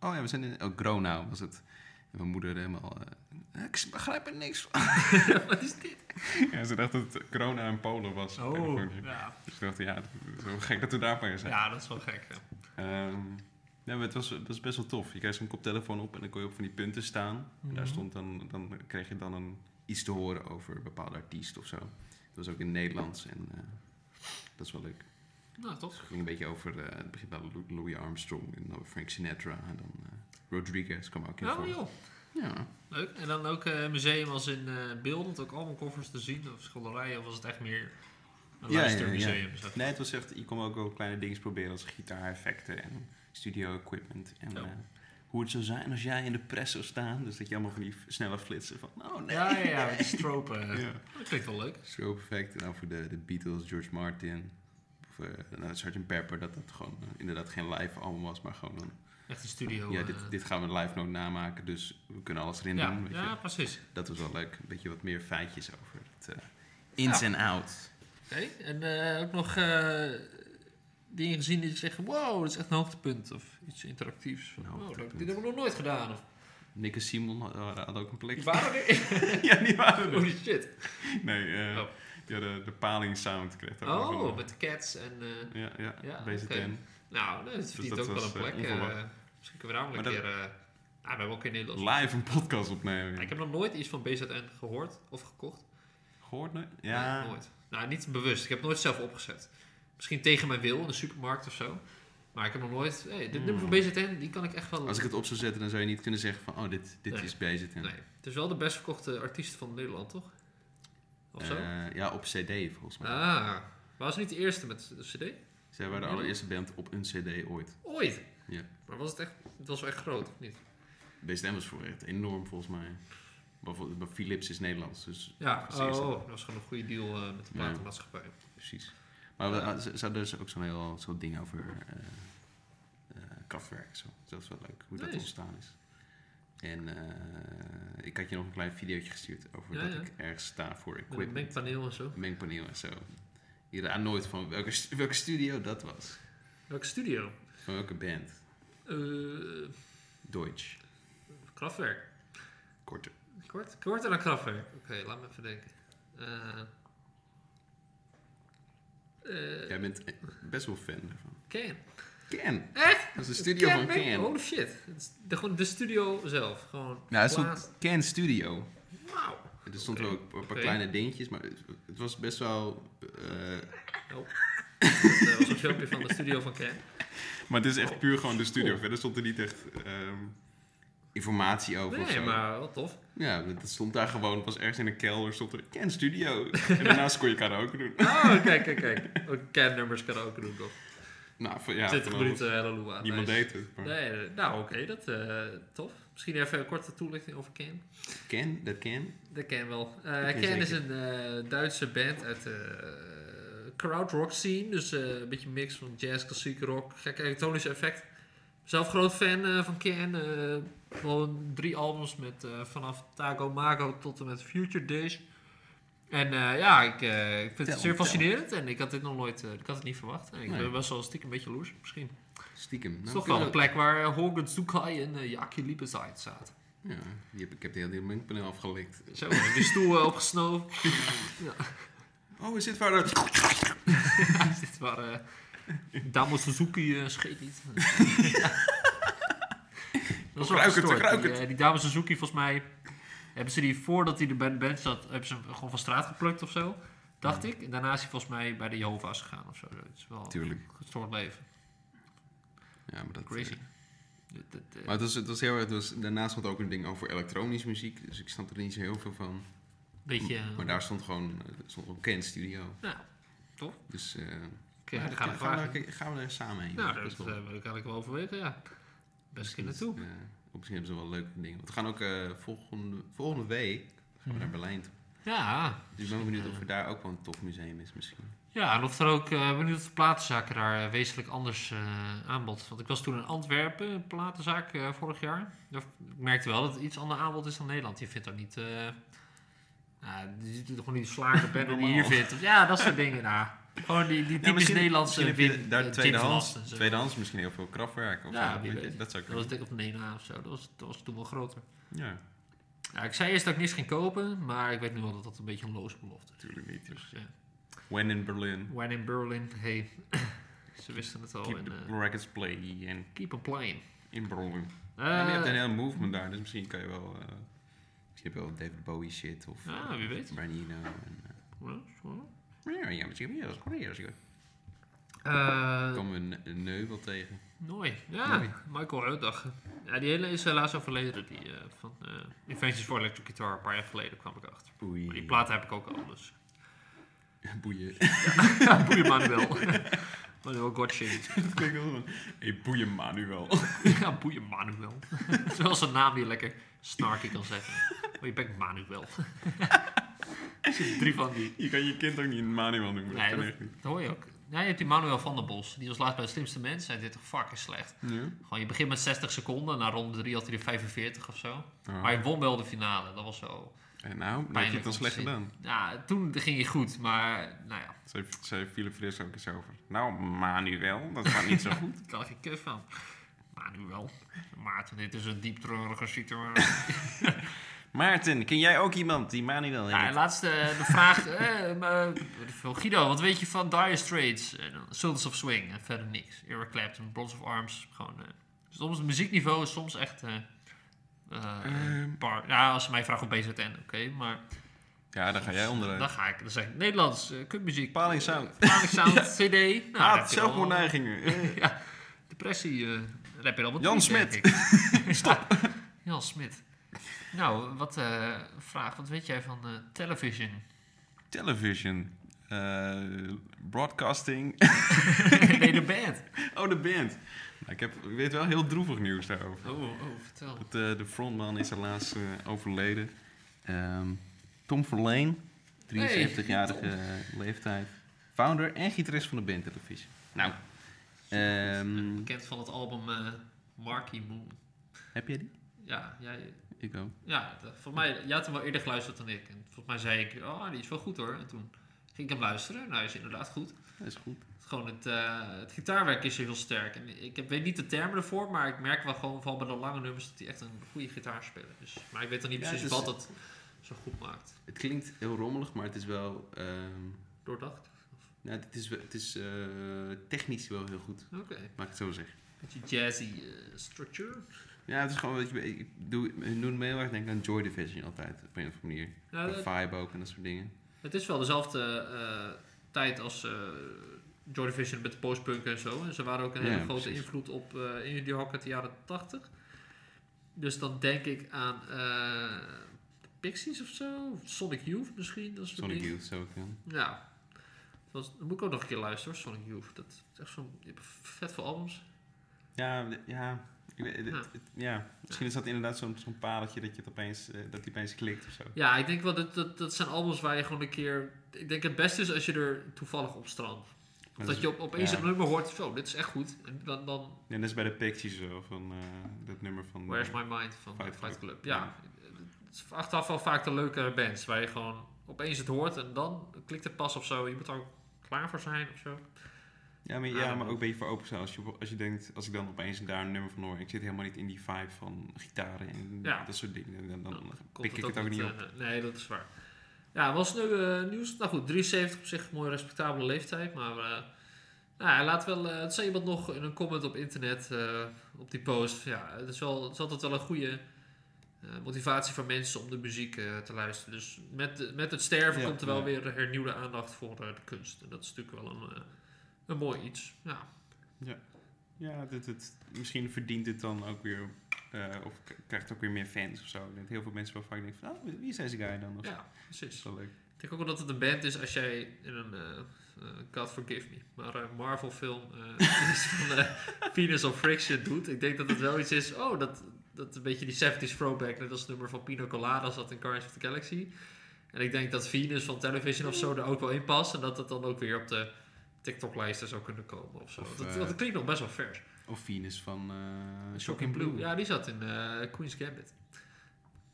Speaker 1: oh ja, we zijn in oh, Gronau was het. En mijn moeder helemaal... eh, ik begrijp er niks van.
Speaker 2: Wat is dit?
Speaker 3: ja, ze dacht dat het corona in Polen was.
Speaker 2: Oh,
Speaker 3: Californië.
Speaker 2: ja.
Speaker 3: Dus ze dacht, ja, het is wel gek dat we daarbij zijn.
Speaker 2: ja, dat is wel gek. ja.
Speaker 3: Ehm, nee, maar het was, het was best wel tof. Je kreeg zo'n koptelefoon op en dan kon je op van die punten staan. En daar
Speaker 2: Mhm.
Speaker 3: stond dan, dan kreeg je dan een...
Speaker 1: Iets te horen over een bepaalde artiest of zo. Dat was ook in het Nederlands en eh, dat is wel leuk.
Speaker 2: Nou,
Speaker 1: Dus
Speaker 2: toch?
Speaker 1: het ging een beetje over... eh, het begint bij Lou- Louis Armstrong en dan Frank Sinatra. En dan eh, Rodriguez kwam ook in
Speaker 3: Oh,
Speaker 1: voor.
Speaker 2: Ja, Nou, joh.
Speaker 1: Ja.
Speaker 2: Leuk. En dan ook eh museum als in eh beeldend, ook allemaal koffers te zien of schilderijen, of was het echt meer een
Speaker 3: Ja, ja, ja,
Speaker 2: luistermuseum? zeg maar?
Speaker 3: Nee, het was echt, je kon ook wel kleine dingen proberen als gitaar-effecten en studio-equipment. En
Speaker 2: Ja.
Speaker 3: eh, hoe het zou zijn als jij in de press zou staan. Dus dat je allemaal van die f- snelle flitsen van, oh nee.
Speaker 2: Ja, ja, ja, met die stropen.
Speaker 3: Ja.
Speaker 2: Dat klinkt wel leuk.
Speaker 1: *laughs* Zo perfect. En dan voor de, de Beatles, George Martin. Of eh nou, Sgt. Pepper, dat dat gewoon eh, inderdaad geen live album was, maar gewoon een-
Speaker 2: Echt een studio.
Speaker 1: ja,
Speaker 2: eh,
Speaker 1: dit, dit gaan we live nog namaken, dus we kunnen alles erin
Speaker 2: ja,
Speaker 1: doen. Weet je.
Speaker 2: ja, precies.
Speaker 1: Dat was wel leuk. Een beetje wat meer feitjes over het eh, ins en outs.
Speaker 2: Oké, en eh, ook nog eh, dingen gezien die zeggen, wow, dat is echt een hoogtepunt. Of iets interactiefs. Van,
Speaker 1: Een
Speaker 2: oh, leuk,
Speaker 1: hoogtepunt.
Speaker 2: dit hebben we nog nooit gedaan. Of,
Speaker 1: Nick en Simon hadden, hadden ook een plek.
Speaker 2: die waren er.
Speaker 3: *laughs* ja, die waren er.
Speaker 2: Holy shit.
Speaker 3: Nee, eh,
Speaker 2: Oh.
Speaker 3: ja, de, de paling sound kreeg daar ook wel.
Speaker 2: Oh, met de cats en... eh,
Speaker 3: Ja, ja,
Speaker 2: Ja,
Speaker 3: BZN.
Speaker 2: oké. nou, dat verdient
Speaker 3: dat
Speaker 2: ook wel een
Speaker 3: was, eh,
Speaker 2: plek. eh,
Speaker 3: onverwacht.
Speaker 2: misschien kunnen we daar ook een
Speaker 3: Maar dat-
Speaker 2: keer... eh nou, we hebben ook in Nederland.
Speaker 3: Live een podcast opnemen.
Speaker 2: Ik heb nog nooit iets van BZN gehoord of gekocht.
Speaker 3: Gehoord, nee?
Speaker 2: Ja.
Speaker 3: Ja.
Speaker 2: nooit. Nou, niet bewust. Ik heb het nooit zelf opgezet. Misschien tegen mijn wil in de supermarkt of zo. Maar ik heb nog nooit... Hey, dit
Speaker 3: Hmm.
Speaker 2: nummer van BZN, die kan ik echt wel...
Speaker 1: Als ik het op zou zetten, dan zou je niet kunnen zeggen van, oh, dit, dit
Speaker 2: Nee.
Speaker 1: is BZN.
Speaker 2: Nee. Het is wel de best verkochte artiest van Nederland, toch? Of zo?
Speaker 1: Eh, ja, op cd volgens mij.
Speaker 2: ah. Maar was het niet de eerste met de cd?
Speaker 1: Zij waren de allereerste band op een cd ooit.
Speaker 2: Ooit.
Speaker 1: Ja.
Speaker 2: Maar was het echt... Het was wel echt groot, of niet?
Speaker 1: BZN was voor echt enorm volgens mij. Maar, voor- maar Philips is Nederlands, dus
Speaker 2: Ja.
Speaker 1: Precies.
Speaker 2: Oh, dat was gewoon een goede deal eh, met de
Speaker 1: Ja.
Speaker 2: platenmaatschappij.
Speaker 1: precies. Maar we, ah, ze, ze hadden dus ook zo'n heel zo'n ding over eh eh, krachtwerk. Zo. Dus Dat is wel leuk, hoe dat
Speaker 2: Nice.
Speaker 1: ontstaan is. En eh, ik had je nog een klein videootje gestuurd over
Speaker 2: Ja,
Speaker 1: dat
Speaker 2: ja.
Speaker 1: ik ergens sta voor
Speaker 2: Met een
Speaker 1: equipment.
Speaker 2: mengpaneel en zo.
Speaker 1: mengpaneel en zo. Je raadt nooit van welke, stu- welke studio dat was.
Speaker 2: Welke studio?
Speaker 1: Van welke band.
Speaker 2: Eh
Speaker 1: Deutsch.
Speaker 2: Kraftwerk.
Speaker 1: Korter.
Speaker 2: Kort? Korter dan Kraftwerk. Oké, laat me even denken. Eh, eh,
Speaker 1: Jij bent eh, best wel fan daarvan.
Speaker 2: Ken.
Speaker 1: Ken!
Speaker 2: Echt?
Speaker 1: Dat is de studio van
Speaker 2: Ken?
Speaker 1: Ken.
Speaker 2: Holy shit. Het is De, gewoon de studio zelf. Gewoon
Speaker 1: Nou, het
Speaker 2: plaats-
Speaker 1: stond Ken Studio.
Speaker 2: Wauw.
Speaker 1: Er stond
Speaker 2: Oké.
Speaker 1: wel een paar
Speaker 2: Oké.
Speaker 1: kleine dingetjes, maar het, het was best wel... eh,
Speaker 2: Oh. Dat was een filmpje van de studio van Ken.
Speaker 3: Maar het is echt puur gewoon de studio.
Speaker 2: Oh.
Speaker 3: Verder stond er niet echt... ehm,
Speaker 1: informatie over of
Speaker 2: Nee,
Speaker 1: zo.
Speaker 2: maar wel tof.
Speaker 1: Ja, dat dat stond daar gewoon. Het was ergens in een kelder, stond er Ken Studio. en *laughs* daarnaast kon je karaoke doen.
Speaker 2: Oh, kijk, kijk, kijk. Ook Ken-nummers kan ook doen, toch?
Speaker 3: nou, van- ja,
Speaker 2: 20
Speaker 3: van
Speaker 2: minuten, halleluja.
Speaker 3: Niemand
Speaker 2: Nice.
Speaker 3: deed het. maar-
Speaker 2: Nee, nee, nou oké, dat eh, tof. Misschien even een korte toelichting over Ken.
Speaker 1: Ken, dat Ken.
Speaker 2: Dat ken ik wel. Eh,
Speaker 1: ken
Speaker 2: Ken
Speaker 1: zeker.
Speaker 2: is een eh, Duitse band uit de eh, crowd rock scene. Dus eh, een beetje een mix van jazz, klassiek rock, gek elektronisch effect. Zelf groot fan eh, van Ken. eh gewoon drie albums met eh, vanaf Taco Mago tot en met Future Days. En eh, ja, ik, eh, ik vind
Speaker 1: Tel,
Speaker 2: het zeer
Speaker 1: tel.
Speaker 2: fascinerend. En ik had dit nog nooit, eh, ik had het niet verwacht. En ik
Speaker 1: Nee.
Speaker 2: ben best wel stiekem een beetje loers, misschien.
Speaker 1: Stiekem. Nou,
Speaker 2: het is toch wel
Speaker 1: kunnen
Speaker 2: een plek waar eh, Horgan Zukai en uh, Jaki Liebezeit zaten.
Speaker 1: we- Ja, die heb, ik heb de hele mengpaneel afgelikt.
Speaker 2: Zo, die stoel
Speaker 1: *laughs*
Speaker 2: eh, opgesnoven.
Speaker 1: Oh, is dit waar dat...
Speaker 2: Ja, dit waren eh, Damo Suzuki eh,
Speaker 1: *laughs*
Speaker 2: scheet niet. Dat is wel
Speaker 3: Ruik het,
Speaker 2: gestoord.
Speaker 3: ruik
Speaker 2: Die,
Speaker 3: het.
Speaker 2: eh, die Damo Suzuki, volgens mij, hebben ze die voordat hij de band, band zat, hebben ze hem gewoon van straat geplukt of zo. Dacht ik. En daarna is hij volgens mij bij de Jehovah's gegaan of zo. Het is wel
Speaker 1: Tuurlijk.
Speaker 2: een gestoord leven.
Speaker 1: Ja, maar dat...
Speaker 2: Crazy.
Speaker 1: eh,
Speaker 2: Dit- dit, eh,
Speaker 1: Maar het was, het was heel erg... het was- daarnaast stond ook een ding over elektronische muziek. Dus ik snap er niet zo heel veel van.
Speaker 2: beetje. eh,
Speaker 1: Maar daar stond gewoon... eh, stond ook Ken Studio.
Speaker 2: Nou,
Speaker 1: Dus... eh,
Speaker 2: oké,
Speaker 1: maar
Speaker 2: dan gaan we
Speaker 1: gaan,
Speaker 2: vragen.
Speaker 1: we, gaan we dus daar samen heen.
Speaker 2: Nou,
Speaker 1: Dat is
Speaker 2: dat
Speaker 1: wel-
Speaker 2: eh, dat kan ik wel overwegen, ja. Best een keer naartoe.
Speaker 1: eh, op misschien hebben ze wel leuke dingen. Want we gaan ook eh, volgende, volgende week gaan
Speaker 2: Mhm.
Speaker 1: we naar Berlijn toe.
Speaker 2: Ja,
Speaker 1: Dus ik ben benieuwd of er daar ook wel een tof museum is
Speaker 2: Eh,
Speaker 1: misschien.
Speaker 2: Ja, en of er ook, eh benieuwd of de platenzaken daar eh, wezenlijk anders eh aanbod. Want ik was toen in Antwerpen, een platenzaak eh, vorig jaar. Daar v- Ik merkte wel dat het iets ander aanbod is dan Nederland. Je vindt daar niet, eh nou, je ziet er gewoon
Speaker 1: *laughs*
Speaker 2: niet slagen pennen die je hier
Speaker 3: Normaal.
Speaker 2: vindt. Of, ja, dat soort dingen. Nou, gewoon die, die typisch
Speaker 1: misschien-
Speaker 2: Nederlandse
Speaker 1: misschien heb je
Speaker 2: win-
Speaker 1: daar
Speaker 2: eh,
Speaker 1: tweedehands,
Speaker 2: James Last en zo.
Speaker 1: tweedehands misschien heel veel kraftwerk. Of
Speaker 2: Ja,
Speaker 1: zo.
Speaker 2: wie
Speaker 1: Weet je,
Speaker 2: weet.
Speaker 1: Dat zou
Speaker 2: Dat was
Speaker 1: kunnen.
Speaker 2: dik op Nena of zo. Dat was, dat was toen wel groter.
Speaker 1: Ja,
Speaker 2: Nou, ik zei eerst dat ik niks ging kopen, maar ik weet nu wel dat dat een beetje een loze belofte is.
Speaker 1: natuurlijk niet.
Speaker 2: Dus ja,
Speaker 1: When in Berlin,
Speaker 2: when in Berlin, hey, *coughs* ze wisten het al.
Speaker 1: keep
Speaker 2: en,
Speaker 1: the
Speaker 2: eh,
Speaker 1: records play and
Speaker 2: Keep on playing.
Speaker 1: in Berlin.
Speaker 2: Eh,
Speaker 1: En je hebt een hele movement daar, dus misschien kan je wel... eh misschien heb je wel David Bowie shit of...
Speaker 2: Ah, wie weet.
Speaker 1: Brian Eno en... eh, ja, ja, misschien ja, dat is goed, ja, dat is goed.
Speaker 2: eh,
Speaker 1: Komen we een- een neu wel tegen.
Speaker 2: Nooi. Ja,
Speaker 1: Nooi.
Speaker 2: Michael Uitdag. Ja, die hele is helaas overleden. Die eh, van eh Inventions for Electric Guitar. Een paar jaar geleden kwam ik achter.
Speaker 1: Oei.
Speaker 2: Maar Oh, die platen heb ik ook al, dus.
Speaker 1: *laughs* Boeien. *laughs*
Speaker 2: Boeien Manuel. Manuel Gottsche.
Speaker 3: Dat klinkt wel van... Hey,
Speaker 1: *laughs*
Speaker 3: boeien Manuel.
Speaker 2: *laughs* ja, boeien Manuel. *laughs* Dat is wel zijn naam die je lekker snarky kan zeggen. Maar je bent Manuel. *laughs* Er zitten drie van die.
Speaker 3: je kan je kind ook niet Manuel noemen.
Speaker 2: Nee,
Speaker 3: dat kan echt niet.
Speaker 2: Dat hoor je ook. Ja, je hebt die Manuel van der Bos. Die was laatst bij de slimste mens. Hij deed toch fucking slecht.
Speaker 3: Ja.
Speaker 2: Gewoon, je begint met 60 seconden, na ronde 3 had hij er 45 of zo.
Speaker 1: Ah.
Speaker 2: Maar hij won wel de finale, dat was zo.
Speaker 1: En nou, dan heb je
Speaker 2: Pijnlijk
Speaker 1: het dan
Speaker 2: om
Speaker 1: slecht
Speaker 2: te zien.
Speaker 1: gedaan.
Speaker 2: Ja, toen ging je goed, maar nou ja,
Speaker 3: Zei, zei Philip Fris ook eens over. Nou, Manuel, dat gaat
Speaker 2: *laughs*
Speaker 3: niet zo goed.
Speaker 2: ik had geen kut van. Maar nu wel. Maarten, dit is een diep treurige situatie.
Speaker 3: Maarten, ken jij ook iemand die Manuel
Speaker 2: Ja, en laatste eh, de vraag. eh, maar, weet ik veel. Guido, wat weet je van Dire Straits? En dan Sultans of Swing en verder niks. Eric Clapton, Bronze of Arms. Gewoon, eh, soms het muziekniveau is soms echt... eh, eh,
Speaker 3: Ehm.
Speaker 2: bar. Ja, als ze mij vragen op BZN, oké. maar
Speaker 3: Ja, daar ga jij onderuit.
Speaker 2: dan ga ik. Dan zeg ik Nederlands, eh, kutmuziek.
Speaker 3: Paling Sound.
Speaker 2: eh, Paling
Speaker 3: *laughs*
Speaker 2: Sound, CD. Nou,
Speaker 3: Ah,
Speaker 2: dan heb je al-
Speaker 3: zelfmoordneigingen. Eh.
Speaker 2: ja, depressie. eh daar heb je al wat
Speaker 3: Jan
Speaker 2: niet, denk
Speaker 3: *laughs* Smit.
Speaker 2: ik. Stop. Jan Smit. Nou, wat eh, vraag. Wat weet jij van eh, television?
Speaker 3: *laughs*
Speaker 2: *laughs*
Speaker 3: Television. eh, broadcasting. *laughs*
Speaker 2: nee, de band.
Speaker 3: Oh, de band. Nou, ik, heb, ik weet wel heel droevig nieuws daarover.
Speaker 2: Oh, oh, vertel.
Speaker 3: Dat, eh, de frontman is helaas eh, overleden. Ehm, Tom Verlaine, 73-jarige leeftijd. Founder en gitarist van de band Television. Nou, ehm,
Speaker 2: Bekend van het album eh Marky Moon.
Speaker 3: heb jij die?
Speaker 2: Ja, jij,
Speaker 3: Ik ook.
Speaker 2: ja dat- volgens mij, jij had hem wel eerder geluisterd dan ik. En volgens mij zei ik, oh, die is wel goed hoor. En toen ging ik hem luisteren. Nou, hij is inderdaad goed.
Speaker 3: Dat is goed.
Speaker 2: Gewoon het, eh, het gitaarwerk is er heel sterk. En ik heb, weet niet de termen ervoor, maar ik merk wel gewoon van bij de lange nummers dat hij echt een goede gitaarspeler is. Maar ik weet dan niet
Speaker 1: Ja,
Speaker 2: precies
Speaker 1: het is-
Speaker 2: wat het zo goed maakt.
Speaker 1: Het klinkt heel rommelig, maar het is wel... ehm,
Speaker 2: Doordacht.
Speaker 1: nou, het is, wel- het is eh, technisch wel heel goed,
Speaker 2: Oké.
Speaker 1: mag ik het zo zeggen.
Speaker 2: Beetje jazzy eh, structure.
Speaker 1: Ja, het is gewoon, weet je, ik doe, ik doe me heel erg denken aan Joy Division altijd, op een of andere manier.
Speaker 2: Ja,
Speaker 1: En
Speaker 2: dat-
Speaker 1: vibe ook en dat soort dingen.
Speaker 2: het is wel dezelfde eh, tijd als eh Joy Division met de postpunk en zo. En ze waren ook een
Speaker 1: Ja,
Speaker 2: hele grote
Speaker 1: precies.
Speaker 2: invloed op eh Indie Rock uit de jaren 80. Dus dan denk ik aan eh, de Pixies of zo. Of Sonic Youth misschien. Dat soort
Speaker 1: Sonic
Speaker 2: dingen.
Speaker 1: Youth zou ik dan.
Speaker 2: Ja. Dat was- dat moet ik ook nog een keer luisteren, hoor, Sonic Youth. Dat is echt zo'n je hebt vet veel albums.
Speaker 3: Ja, d- ja. Ik weet- het-
Speaker 2: Ja.
Speaker 3: het- ja, misschien is dat inderdaad zo'n zo'n pareltje dat je het opeens, eh, dat die opeens klikt of zo.
Speaker 2: Ja, ik denk wel dat, dat dat zijn albums waar je gewoon een keer. Ik denk het beste is als je er toevallig op strandt. Of
Speaker 3: Dat
Speaker 2: dat,
Speaker 3: is-
Speaker 2: je op, opeens
Speaker 3: ja.
Speaker 2: een nummer hoort, zo, dit is echt goed. En dan, dan
Speaker 3: En dat is bij de Pixies zo, van eh, dat nummer van...
Speaker 2: Where's My Mind van
Speaker 3: Fight
Speaker 2: Fight,
Speaker 3: Club.
Speaker 2: Club. Ja, het is achteraf wel vaak de leuke bands waar je gewoon opeens het hoort en dan klikt het pas of zo. Je moet er ook klaar voor zijn of zo.
Speaker 3: Ja, maar,
Speaker 2: Ah,
Speaker 3: ja,
Speaker 2: dat
Speaker 3: maar ook
Speaker 2: ook.
Speaker 3: een beetje voor openstaan. Als je, als je denkt, als ik dan opeens daar een nummer van hoor, ik zit helemaal niet in die vibe van gitaren en
Speaker 2: Ja.
Speaker 3: dat soort dingen, dan, dan
Speaker 2: Dan
Speaker 3: pik ik het ook niet op.
Speaker 2: eh, nee, dat is waar. Ja, was nu eh, nieuws. Nou goed, 73 op zich een mooie respectabele leeftijd. Maar eh nou, ja, laat wel, eh, het zei iemand nog in een comment op internet, eh, op die post. Ja, het is, wel, het is altijd wel een goede eh, motivatie voor mensen om de muziek eh, te luisteren. Dus met, de- met het sterven
Speaker 3: Ja,
Speaker 2: komt er wel
Speaker 3: ja.
Speaker 2: weer hernieuwde aandacht voor eh, de kunst. En dat is natuurlijk wel een, eh, een mooi iets. Ja.
Speaker 3: Ja, dit, dit, misschien verdient het dan ook weer, eh, of k- krijgt ook weer meer fans of zo. Ik denk dat heel veel mensen wel vaak denken van, oh, wie is deze guy dan? Of zo.
Speaker 2: ja,
Speaker 3: Dat
Speaker 2: precies.
Speaker 3: is wel leuk.
Speaker 2: Ik denk ook wel dat het een band is als jij in een eh, eh, God Forgive Me, maar een Marvel film eh, *laughs* iets van eh, Venus of Friction doet. Ik denk dat het wel iets is, oh, dat, dat een beetje die 70s throwback, net als het nummer van Pina Colada zat in Guardians of the Galaxy. En ik denk dat Venus van Television of zo er ook wel in past en dat dat dan ook weer op de TikTok-lijsten zou kunnen komen of zo.
Speaker 1: Of,
Speaker 2: dat,
Speaker 1: eh,
Speaker 2: dat klinkt nog best wel vers.
Speaker 1: Of Venus van eh
Speaker 2: Shocking Blue. ja, die zat in eh, Queen's Gambit.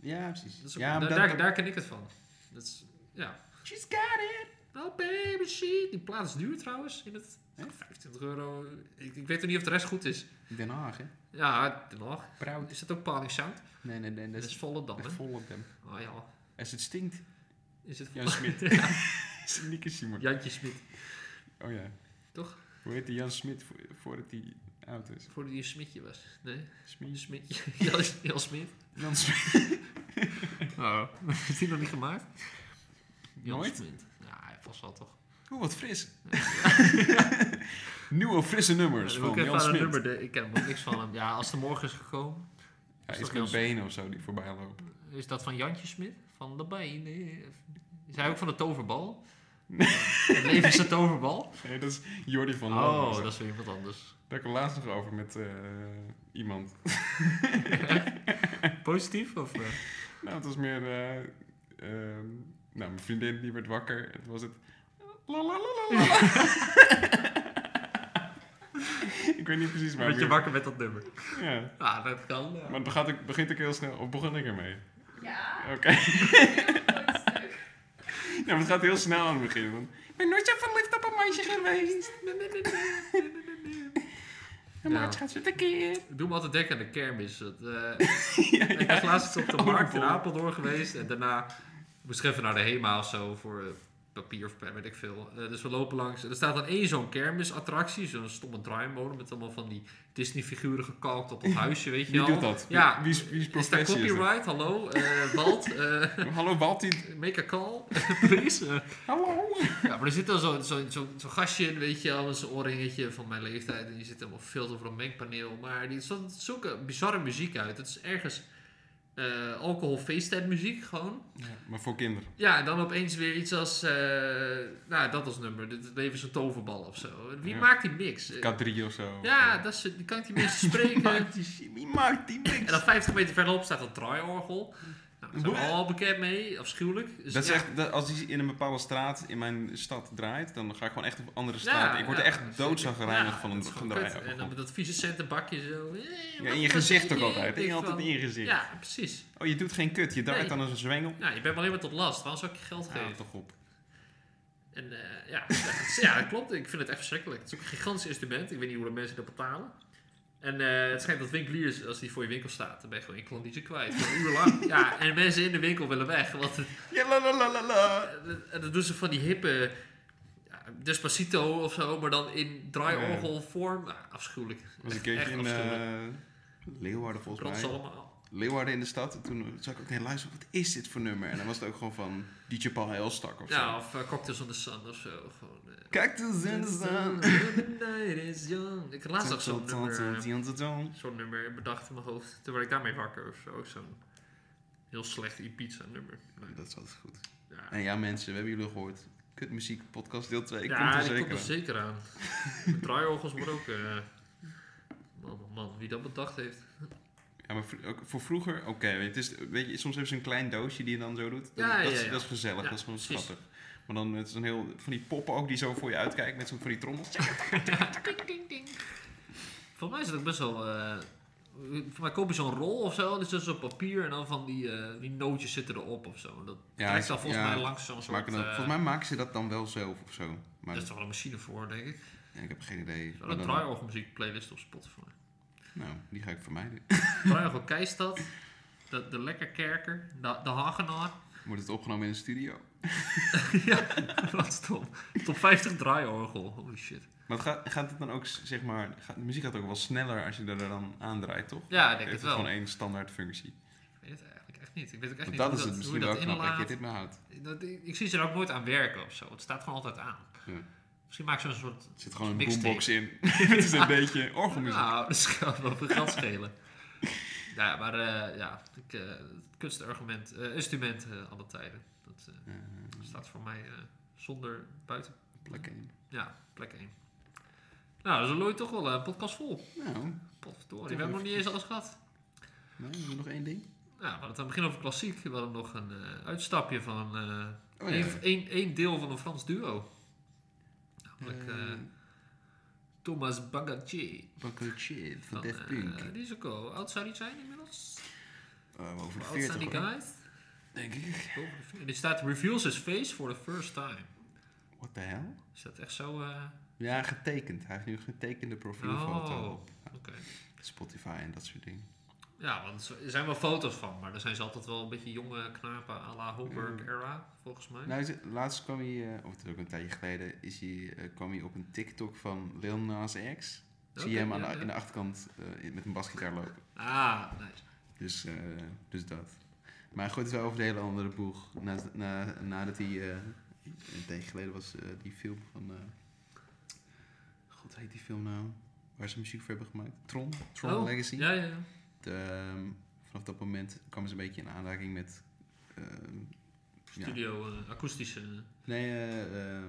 Speaker 1: Ja, precies.
Speaker 2: Dat is ook-
Speaker 1: ja,
Speaker 2: daar,
Speaker 1: maar dat-
Speaker 2: daar,
Speaker 1: dat-
Speaker 2: daar ken ik het van. Dat is, ja.
Speaker 1: She's got it!
Speaker 2: Oh baby, shit. Die plaat is duur trouwens. In het
Speaker 1: Echt?
Speaker 2: 25 euro. Ik, ik weet nog niet of de rest goed is.
Speaker 1: Den Haag, hè?
Speaker 2: Ja, Den Haag.
Speaker 1: Proud.
Speaker 2: Is dat ook Paling Sound?
Speaker 1: Nee, nee, nee.
Speaker 2: Dat
Speaker 1: Dat
Speaker 2: is
Speaker 1: is
Speaker 2: Volendam, hè?
Speaker 3: Echt vol op hem.
Speaker 2: Oh ja,
Speaker 1: Als het
Speaker 3: *laughs*
Speaker 1: stinkt.
Speaker 2: is het *laughs*
Speaker 3: Jan
Speaker 2: Volendam?
Speaker 3: Smit. Nieke Simon.
Speaker 2: Jantje Smit.
Speaker 3: Oh ja.
Speaker 2: Toch?
Speaker 3: Hoe heet die Jan Smit vo- voordat hij oud is?
Speaker 2: Voordat hij een smitje was. Nee, een
Speaker 3: Smit.
Speaker 2: smitje. *laughs* Jan, Jan Smit.
Speaker 3: Jan Smit. *laughs*
Speaker 2: Oh. *laughs* Is die nog niet gemaakt? Jan
Speaker 3: Nooit?
Speaker 2: Smit. Ja, hij vast wel toch.
Speaker 3: Oeh, Oh, wat fris. *laughs* Nieuwe frisse nummers
Speaker 2: Ja, dan moet
Speaker 3: van
Speaker 2: ik even
Speaker 3: Jan
Speaker 2: aan een
Speaker 3: Smit.
Speaker 2: nummer de- Ik ken ook niks van hem. Ja, als de morgen is gekomen.
Speaker 3: Ja,
Speaker 2: Is
Speaker 3: iets
Speaker 2: toch Jan
Speaker 3: met
Speaker 2: Smit?
Speaker 3: benen of zo die voorbij lopen.
Speaker 2: Is dat van Jantje Smit? Van de benen. Is hij ook van de toverbal? Het leven is een toverbal.
Speaker 3: Nee, dat is Jordi van Loon.
Speaker 2: Oh, dat is weer iemand anders.
Speaker 3: Daar kwam laatst nog over met eh, iemand.
Speaker 2: Positief of? eh?
Speaker 3: Nou, het was meer... eh, ehm, nou, mijn vriendin die werd wakker. Het was het... La, la, la, la, *laughs* la. ik weet niet precies waar.
Speaker 2: Word je
Speaker 3: meer-
Speaker 2: wakker met dat nummer?
Speaker 3: Ja.
Speaker 2: Ja, Ah, dat kan.
Speaker 3: Maar het begint, begint ook heel snel... Of begon ik ermee?
Speaker 1: *laughs*
Speaker 4: Ja.
Speaker 3: Oké. *laughs*
Speaker 4: Leuk stuk.
Speaker 3: Ja, maar het gaat heel snel aan het begin. Want, ik ben nooit zo verliefd op een meisje
Speaker 2: *laughs*
Speaker 3: geweest. Mijn
Speaker 2: Ja.
Speaker 3: hart gaat zo tekeer.
Speaker 2: Ik doe me altijd denken aan de kermis. Dat,
Speaker 3: *laughs*
Speaker 2: eh, ik was laatst op
Speaker 3: Oh,
Speaker 2: de markt in
Speaker 3: overvol.
Speaker 2: Apeldoorn geweest. En daarna moest ik even naar de HEMA of zo voor eh, papier of pen, weet ik veel. Eh, dus we lopen langs. En er staat dan één zo'n kermisattractie. Zo'n stomme draaimolen met allemaal van die Disney-figuren gekalkt op het huisje, weet je
Speaker 3: Wie
Speaker 2: wel.
Speaker 3: doet dat?
Speaker 2: Ja.
Speaker 3: Wie, wie is, wie is
Speaker 2: Is daar
Speaker 3: professie? is dat?
Speaker 2: copyright? Hallo? eh Walt? eh, *laughs*
Speaker 3: Hallo Balti.
Speaker 2: make a
Speaker 3: *laughs*
Speaker 2: call, please. Eh,
Speaker 3: Hallo.
Speaker 2: ja, maar er zit dan zo'n zo, zo, zo'n gastje in, weet je wel, met zo'n oorringetje van mijn leeftijd. En die zit helemaal filter voor een mengpaneel. Maar die stond zulke bizarre muziek uit. Het is ergens eh alcohol feesttijdmuziek gewoon.
Speaker 3: maar voor kinderen.
Speaker 2: Ja, en dan opeens weer iets als, eh, nou dat als nummer. Dit het leven is een toverbal of zo. Wie
Speaker 3: Ja.
Speaker 2: maakt die mix? Eh,
Speaker 3: K3 of zo.
Speaker 2: ja, dat is, die kan ik die
Speaker 3: *laughs*
Speaker 2: mensen spreken.
Speaker 3: Maakt die shit. Wie maakt die mix?
Speaker 2: En dan 50 meter verderop staat een draaiorgel. Nou, daar zijn we al bekend mee, afschuwelijk. Dus
Speaker 3: Dat is
Speaker 2: ja.
Speaker 3: echt, dat, als die in een bepaalde straat in mijn stad draait, dan ga ik gewoon echt op een andere straat.
Speaker 2: Ja,
Speaker 3: ik word er
Speaker 2: ja,
Speaker 3: echt doodzagrijnig
Speaker 2: ja,
Speaker 3: van
Speaker 2: dat
Speaker 3: een
Speaker 2: is gewoon
Speaker 3: gedraai.
Speaker 2: kut. En dan met dat vieze centenbakje zo. eh,
Speaker 3: Ja,
Speaker 2: wat
Speaker 3: in je
Speaker 2: was
Speaker 3: gezicht
Speaker 2: het
Speaker 3: ook
Speaker 2: hier?
Speaker 3: altijd.
Speaker 2: Ik
Speaker 3: In je
Speaker 2: denk
Speaker 3: altijd in
Speaker 2: van-
Speaker 3: je gezicht.
Speaker 2: Ja, precies.
Speaker 3: Oh, je doet geen kut. Je draait
Speaker 2: Nee.
Speaker 3: dan als een zwengel.
Speaker 2: Nou, je bent alleen maar tot last. Waarom zou ik je geld
Speaker 3: Ja,
Speaker 1: Nou,
Speaker 2: geven?
Speaker 3: toch op.
Speaker 2: En eh, ja, *laughs* ja, dat klopt. Ik vind het echt verschrikkelijk. Het is ook een gigantisch instrument. Ik weet niet hoe de mensen dat betalen. En eh, het schijnt dat winkeliers, als die voor je winkel staat, dan ben je gewoon je klant niet zo kwijt. Voor een uur
Speaker 3: *laughs*
Speaker 2: lang. Ja, en mensen in de winkel willen weg. Want het-
Speaker 3: Ja, la la la la la.
Speaker 2: eh, en dat doen ze van die hippe ja, Despacito of zo, maar dan in draaiorgelvorm. Nou, afschuwelijk.
Speaker 3: was een keertje
Speaker 2: Echt
Speaker 3: in eh,
Speaker 2: afschuwelijk.
Speaker 1: eh, Leeuwarden volgens
Speaker 2: Brand ze
Speaker 1: mij.
Speaker 2: allemaal.
Speaker 1: Leeuwarden in de stad. En toen zag ik ook heel luisteren, wat is dit voor nummer? En dan was het ook gewoon van DJ Paul Helstak of zo.
Speaker 2: Ja, of eh, Cocktails on the Sun of zo. Gewoon, eh.
Speaker 1: Kijk, de zin is aan.
Speaker 2: The night is young. Ik had laatst ook zo'n nummer,
Speaker 3: nummer.
Speaker 2: zo'n nummer bedacht in mijn hoofd. Toen werd ik daarmee wakker of zo. Zo'n heel slecht Ibiza nummer. Nou,
Speaker 1: Dat is altijd goed.
Speaker 2: Ja,
Speaker 1: En ja, mensen, we hebben jullie gehoord. Kutmuziek, podcast deel 2.
Speaker 2: Ja,
Speaker 1: komt er
Speaker 2: die
Speaker 1: zeker aan.
Speaker 2: zeker
Speaker 1: *laughs*
Speaker 2: aan. De draaiorgels worden ook... eh, man, man, man, wie dat bedacht heeft.
Speaker 3: Ja, maar vr- ook voor vroeger, oké, weet, je, het is- weet je, soms hebben ze een klein doosje die je dan zo doet. Dat,
Speaker 2: Ja,
Speaker 3: dat,
Speaker 2: ja,
Speaker 3: is-
Speaker 2: ja.
Speaker 3: dat is gezellig,
Speaker 2: Ja,
Speaker 3: dat is gewoon
Speaker 2: precies.
Speaker 3: schattig. Maar dan met zo'n heel, van die poppen ook die zo voor je uitkijken met zo'n van die trommels.
Speaker 2: Volgens mij is het ook best wel... eh volgens mij koop je zo'n rol of zo. En is dat zo'n papier en dan van die, eh, die nootjes zitten erop of zo. Dat
Speaker 1: Ja,
Speaker 2: trekt dan volgens
Speaker 1: ja,
Speaker 2: mij langs zo'n
Speaker 1: Ze
Speaker 2: soort...
Speaker 1: maken dat-
Speaker 2: eh,
Speaker 1: volgens mij maken ze dat dan wel zelf of zo. Maar
Speaker 2: daar is toch wel een machine voor, denk ik.
Speaker 1: ja, ik heb geen idee.
Speaker 2: Wel
Speaker 1: Maar
Speaker 2: een
Speaker 1: dan-
Speaker 2: draaiorgelmuziek playlist op Spotify.
Speaker 1: nou, die ga ik
Speaker 3: *laughs*
Speaker 1: vermijden.
Speaker 2: Draaiorgel Keistad, de, de Lekkerkerker, de, de Hagenaar. *laughs*
Speaker 1: Wordt het opgenomen in de studio?
Speaker 2: ja, wat stom. Top 50 draaiorgel, holy shit.
Speaker 3: Maar het gaat, gaat het dan ook, s- zeg maar, gaat, de muziek gaat ook wel sneller als je er dan aandraait, toch?
Speaker 2: Ja, ik denk het
Speaker 3: Heeft het
Speaker 2: wel.
Speaker 3: gewoon één standaard functie.
Speaker 2: Ik weet het eigenlijk echt niet. Ik weet ook echt
Speaker 1: Want dat
Speaker 2: niet hoe
Speaker 1: is het
Speaker 2: hoe
Speaker 1: misschien
Speaker 2: je
Speaker 1: wel
Speaker 2: dat
Speaker 1: knap dat je
Speaker 2: inlaat.
Speaker 3: nou
Speaker 1: dit maar houdt.
Speaker 2: Dat- ik, ik zie ze er ook nooit aan werken of zo. Het staat gewoon altijd aan.
Speaker 1: Ja.
Speaker 2: Misschien maken ze een soort...
Speaker 1: Er zit gewoon een
Speaker 2: Mixtape.
Speaker 1: boombox
Speaker 2: *laughs*
Speaker 1: in.
Speaker 3: *laughs* het is een beetje orgelmuziek.
Speaker 2: Nou, dat kan wel veel geld schelen. ja, maar eh, ja, ik, eh, het kunstargument, eh, instrument eh, alle tijden. Dat eh,
Speaker 1: Eh,
Speaker 2: staat voor mij eh, zonder buiten.
Speaker 1: plak in.
Speaker 2: Ja, plek 1. Nou, zo looi je toch wel eh, een podcast vol.
Speaker 1: Nou,
Speaker 2: Potverdorie, we hebben nog niet eens alles gehad.
Speaker 1: nou, hebben we nog één ding.
Speaker 2: Nou, we hadden het aan het begin over klassiek. We hadden nog een eh, uitstapje van eh
Speaker 1: Oh ja.
Speaker 2: één, één, één deel van een Frans duo. Namelijk eh,
Speaker 1: Eh,
Speaker 2: Thomas Bagatier.
Speaker 1: Bakker Shit van
Speaker 2: Van,
Speaker 1: Def
Speaker 2: eh,
Speaker 1: Punk.
Speaker 2: die is ook al. Oud zou die zijn inmiddels?
Speaker 1: Eh, over
Speaker 2: Hoe
Speaker 1: de
Speaker 2: oud
Speaker 1: 40
Speaker 2: zijn die
Speaker 1: hoor.
Speaker 2: guys?
Speaker 1: Denk ik.
Speaker 2: Boven de 40. En die staat Reveals His Face for the First Time.
Speaker 1: What the hell?
Speaker 2: Is dat echt zo? eh,
Speaker 1: Ja, getekend. Hij heeft nu een getekende profielfoto
Speaker 2: Oh,
Speaker 1: op
Speaker 2: oké.
Speaker 1: Spotify en dat soort dingen.
Speaker 2: Ja, want er zijn wel foto's van, maar daar zijn ze altijd wel een beetje jonge knapen à la
Speaker 1: Mm.
Speaker 2: Holberg era, volgens mij.
Speaker 1: Nou, ze- laatst kwam hij, eh, of het is ook een tijdje geleden, is hij, eh, kwam hij op een TikTok van Lil Nas X.
Speaker 2: Oké,
Speaker 1: Zie je hem aan
Speaker 2: ja,
Speaker 1: de,
Speaker 2: ja.
Speaker 1: in de achterkant eh, in- met een basgitaar lopen.
Speaker 2: Ah, nice.
Speaker 1: Dus, eh, dus dat. Maar hij gooit het wel over de hele andere boeg. Na, na, nadat hij, eh, een tijdje geleden was eh, die film van, eh, god heet die film nou? Waar ze muziek voor hebben gemaakt? Tron? Tron
Speaker 2: Oh,
Speaker 1: Legacy?
Speaker 2: Ja, ja, ja.
Speaker 1: Ehm, vanaf dat moment kwamen ze een beetje in aanraking met. ehm, Ja.
Speaker 2: Studio, eh, akoestische.
Speaker 1: nee, eh, ehm,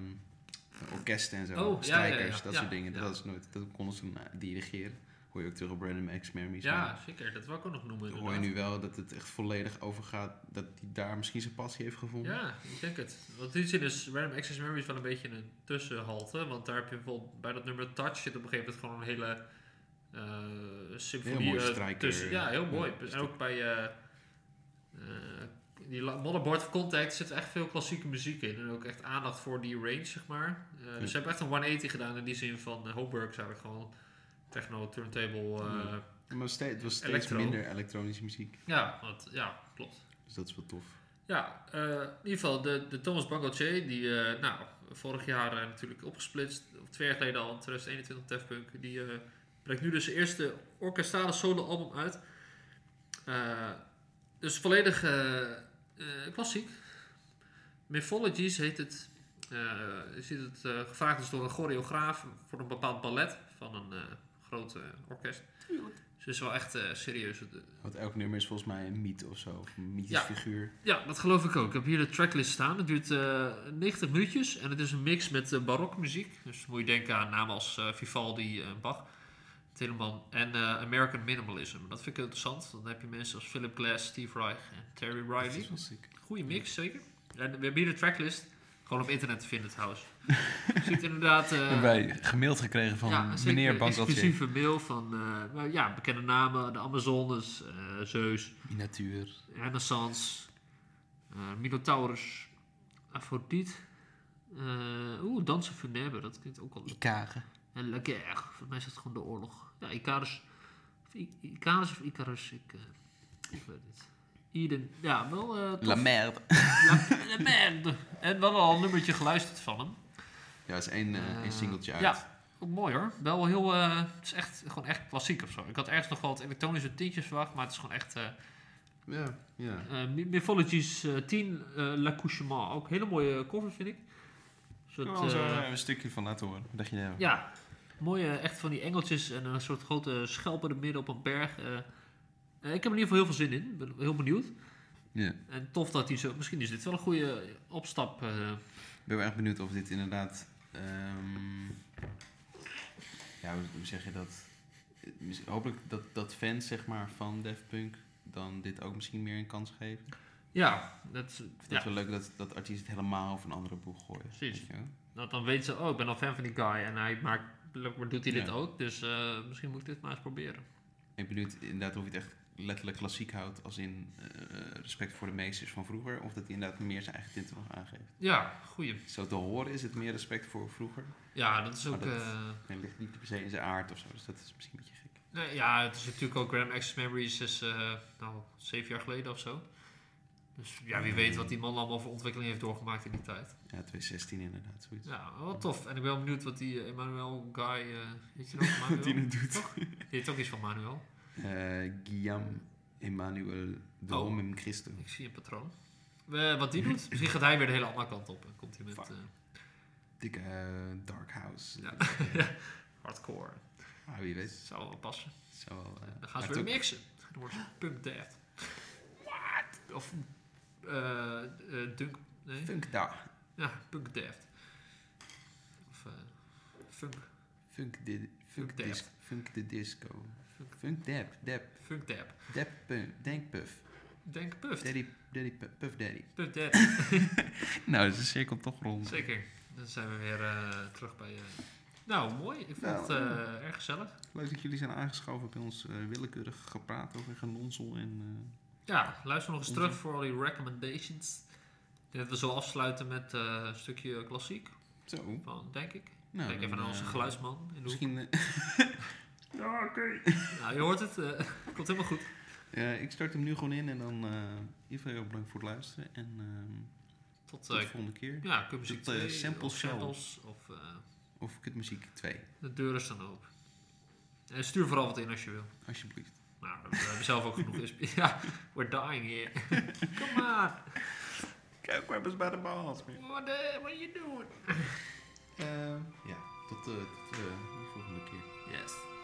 Speaker 1: orkesten en zo.
Speaker 2: Oh, ja, ja,
Speaker 1: strijkers,
Speaker 2: ja,
Speaker 1: dat
Speaker 2: ja,
Speaker 1: soort dingen.
Speaker 2: ja.
Speaker 1: Dat, is nooit, dat konden ze na- dirigeren. Hoor je ook terug op Brandon X Memories.
Speaker 2: ja,
Speaker 1: maar
Speaker 2: zeker. Dat wil ik ook nog noemen.
Speaker 1: dan hoor je
Speaker 2: inderdaad.
Speaker 1: nu wel dat het echt volledig overgaat. Dat hij daar misschien zijn passie heeft gevonden.
Speaker 2: Ja, ik denk het. Want in die zin is Random Access Memories wel een beetje een tussenhalte. Want daar heb je bijvoorbeeld bij dat nummer Touch zit op een gegeven moment gewoon een hele eh symfonie.
Speaker 1: Heel mooi
Speaker 2: eh,
Speaker 1: strijker.
Speaker 2: tussen. Ja, heel mooi.
Speaker 1: Ja,
Speaker 2: en ook bij eh eh, die la- Motherboard of Contact zit echt veel klassieke muziek in. En ook echt aandacht voor die range, zeg maar. Eh,
Speaker 1: Ja.
Speaker 2: Dus ze hebben echt een 180 gedaan in die zin van eh, Homeworks eigenlijk gewoon techno, turntable. eh,
Speaker 1: Ja. Maar steeds, het was steeds
Speaker 2: Electro.
Speaker 1: minder elektronische muziek.
Speaker 2: ja, want, ja, klopt.
Speaker 1: Dus dat is wel tof.
Speaker 2: Ja, eh, in ieder geval de, de Thomas Bangalche, die eh, nou, vorig jaar eh, natuurlijk opgesplitst, of twee jaar geleden al, in 2021 Tefpunk, die eh, brengt nu dus zijn eerste orkestrale solo-album uit. Eh, dus volledig eh, eh, klassiek. Mythologies heet het. Eh, je ziet het eh, gevraagd is door een choreograaf voor een bepaald ballet van een eh, groot eh, orkest. Dus het is wel echt eh, serieus. Het-
Speaker 1: Want elk nummer is volgens mij een mythe of zo. Of een mythisch
Speaker 2: Ja.
Speaker 1: figuur.
Speaker 2: Ja, dat geloof ik ook. Ik heb hier de tracklist staan. Het duurt eh, 90 minuutjes en het is een mix met eh, barok barokmuziek. Dus moet je denken aan namen als eh, Vivaldi, eh Bach, Telemann en eh, American Minimalism. Dat vind ik heel interessant. Dan heb je mensen als Philip Glass, Steve Reich en Terry
Speaker 1: Dat
Speaker 2: Riley.
Speaker 1: is wel sick.
Speaker 2: Goeie mix, zeker. En we hebben hier de tracklist. Gewoon op internet te vinden trouwens. Je ziet inderdaad...
Speaker 3: *laughs*
Speaker 2: eh,
Speaker 3: Hebben wij gemaild gekregen van
Speaker 2: ja, zeker
Speaker 3: meneer Bangalter.
Speaker 2: exclusieve mail van eh, nou ja, bekende namen. De Amazones, eh, Zeus,
Speaker 1: Natuur.
Speaker 2: Renaissance, eh, Minotaurus, Aphrodite. eh Oeh, Dansen Funèbre, dat klinkt ook al.
Speaker 1: Ikage.
Speaker 2: En La Guerre, voor mij is dat gewoon de oorlog. Ja, Icarus. Of I- Icarus of Icarus, ik, eh, ik weet het niet. Eden, ja, wel. eh, tof.
Speaker 1: La merde.
Speaker 2: La, La Merde. En we hadden al een nummertje geluisterd van hem.
Speaker 1: Ja, dat is één, eh, één
Speaker 2: Eh,
Speaker 1: singeltje uit.
Speaker 2: Ja, ook mooi hoor. Wel heel, eh, het is echt, gewoon echt klassiek of zo. Ik had ergens nog wel wat elektronische tintjes verwacht, maar het is gewoon echt. eh,
Speaker 1: Ja, ja.
Speaker 2: Eh, My- Mythologies eh, 10, eh L'accouchement. Ook een hele mooie cover, vind ik. Een soort,
Speaker 3: Kunnen we wel Oh, zo
Speaker 2: eh,
Speaker 3: een stukje van laten horen. Wat dacht je nou?
Speaker 2: ja, mooie, echt van die engeltjes en een soort grote schelpen er midden op een berg. eh. Eh, ik heb er in ieder geval heel veel zin in. Ik ben heel benieuwd.
Speaker 1: Ja.
Speaker 2: En tof dat hij zo... Misschien is dit wel een goede opstap. eh.
Speaker 1: Ik ben wel erg benieuwd of dit inderdaad. ehm, ja, hoe, hoe zeg je dat? Eh, mis- Hopelijk dat, dat fans zeg maar, van Daft Punk dan dit ook misschien meer een kans geven. Ik
Speaker 2: Ja, dat,
Speaker 1: vind
Speaker 2: ja
Speaker 1: het wel leuk dat, dat artiesten het helemaal over een andere boeg gooien.
Speaker 2: Precies.
Speaker 1: weet je wel?
Speaker 2: dat dan weet ze... Oh, ik ben al fan van die guy. En hij maakt... blijkbaar Doet hij dit
Speaker 1: Ja.
Speaker 2: ook? Dus eh, misschien moet ik dit maar eens proberen.
Speaker 1: Ik ben benieuwd inderdaad of je het echt letterlijk klassiek houdt, als in eh, respect voor de meesters van vroeger, of dat hij inderdaad meer zijn eigen tinten nog aangeeft.
Speaker 2: Ja, goeie.
Speaker 1: Zo te horen is het meer respect voor vroeger.
Speaker 2: Ja, dat is ook...
Speaker 1: Maar dat-
Speaker 2: eh,
Speaker 1: En ligt niet per se in zijn aard of zo, dus dat is misschien een beetje gek.
Speaker 2: Nee, ja, het is natuurlijk ook Grand Access Memories is eh, nou, zeven jaar geleden of zo. Dus ja, wie weet wat die man allemaal voor ontwikkeling heeft doorgemaakt in die tijd.
Speaker 1: Ja, 2016 inderdaad, zoiets. *laughs*
Speaker 2: Ja, wel tof. En ik ben wel benieuwd wat die eh, Emmanuel Guy... eh heet je
Speaker 1: *laughs*
Speaker 2: nog Manuel?
Speaker 3: Wat hij nu doet.
Speaker 2: Toch? Die heet ook iets van Manuel.
Speaker 1: Eh, Guillaume Emmanuel de
Speaker 2: Oh.
Speaker 1: Homem Christo.
Speaker 2: Ik zie een patroon. Eh, wat die doet? Misschien gaat hij weer de hele andere kant op. En komt hij met
Speaker 3: Fuck.
Speaker 2: eh,
Speaker 1: Dikke eh, Dark House.
Speaker 2: Ja. hardcore.
Speaker 1: Ah, wie
Speaker 2: Dat
Speaker 1: weet.
Speaker 2: zou wel passen.
Speaker 1: Zo, eh,
Speaker 2: Dan gaan
Speaker 1: maar
Speaker 2: ze
Speaker 1: het
Speaker 2: weer
Speaker 1: ook-
Speaker 2: mixen. Dan wordt het Punk Dead. What? Of eh, eh, Dunk... Nee?
Speaker 1: Funk da.
Speaker 2: Ja, Punk Daft. Of eh, Funk,
Speaker 1: Funk, di funk,
Speaker 2: Funk dab.
Speaker 1: disc, funk de disco.
Speaker 2: Funk-
Speaker 1: Funk dab. Dab.
Speaker 2: Funk Dab.
Speaker 1: Dab punk. Denk puff.
Speaker 2: Denk Puff.
Speaker 1: Daddy, daddy puff, puff daddy. dus
Speaker 2: Puff Dab.
Speaker 1: *clears throat*
Speaker 3: Nou, is de cirkel toch rond.
Speaker 2: Zeker. Dan zijn we weer eh, terug bij... eh, Nou, mooi. Ik vond
Speaker 1: Nou,
Speaker 2: het eh,
Speaker 1: ja.
Speaker 2: erg gezellig.
Speaker 1: Leuk dat jullie zijn aangeschoven bij ons eh, willekeurig gepraat over genonsel en... eh,
Speaker 2: Ja, luister nog eens
Speaker 1: Onzin.
Speaker 2: terug voor al die recommendations. Ik denk dat we zo afsluiten met eh, een stukje klassiek,
Speaker 1: zo.
Speaker 2: van, denk ik.
Speaker 1: Nou,
Speaker 2: Kijk even
Speaker 1: dan,
Speaker 2: naar onze
Speaker 1: eh,
Speaker 2: geluidsman in de hoek.
Speaker 1: Misschien... eh, *laughs*
Speaker 3: Ja, oké.
Speaker 2: Nou, je hoort het. eh, *laughs* komt helemaal goed.
Speaker 1: eh, ik start hem nu gewoon in en dan... eh iedereen heel bedankt voor het luisteren en... ehm,
Speaker 2: Tot,
Speaker 1: tot
Speaker 2: eh
Speaker 1: de volgende keer.
Speaker 2: ja, Cupmuziek
Speaker 1: tot, eh,
Speaker 2: 2,
Speaker 1: samples
Speaker 2: of
Speaker 1: show.
Speaker 2: samples, of eh,
Speaker 1: Of kutmuziek 2,
Speaker 2: de deuren staan open. En stuur vooral wat in als je wil.
Speaker 1: alsjeblieft.
Speaker 2: Nou, we hebben zelf ook genoeg *laughs* insp- Ja, we're dying here. *laughs* Come on.
Speaker 3: Kijk, we hebben ze bij de baas.
Speaker 2: What, the, what are you doing?
Speaker 1: Eh, ja, tot, eh, tot eh, de volgende keer.
Speaker 2: Yes.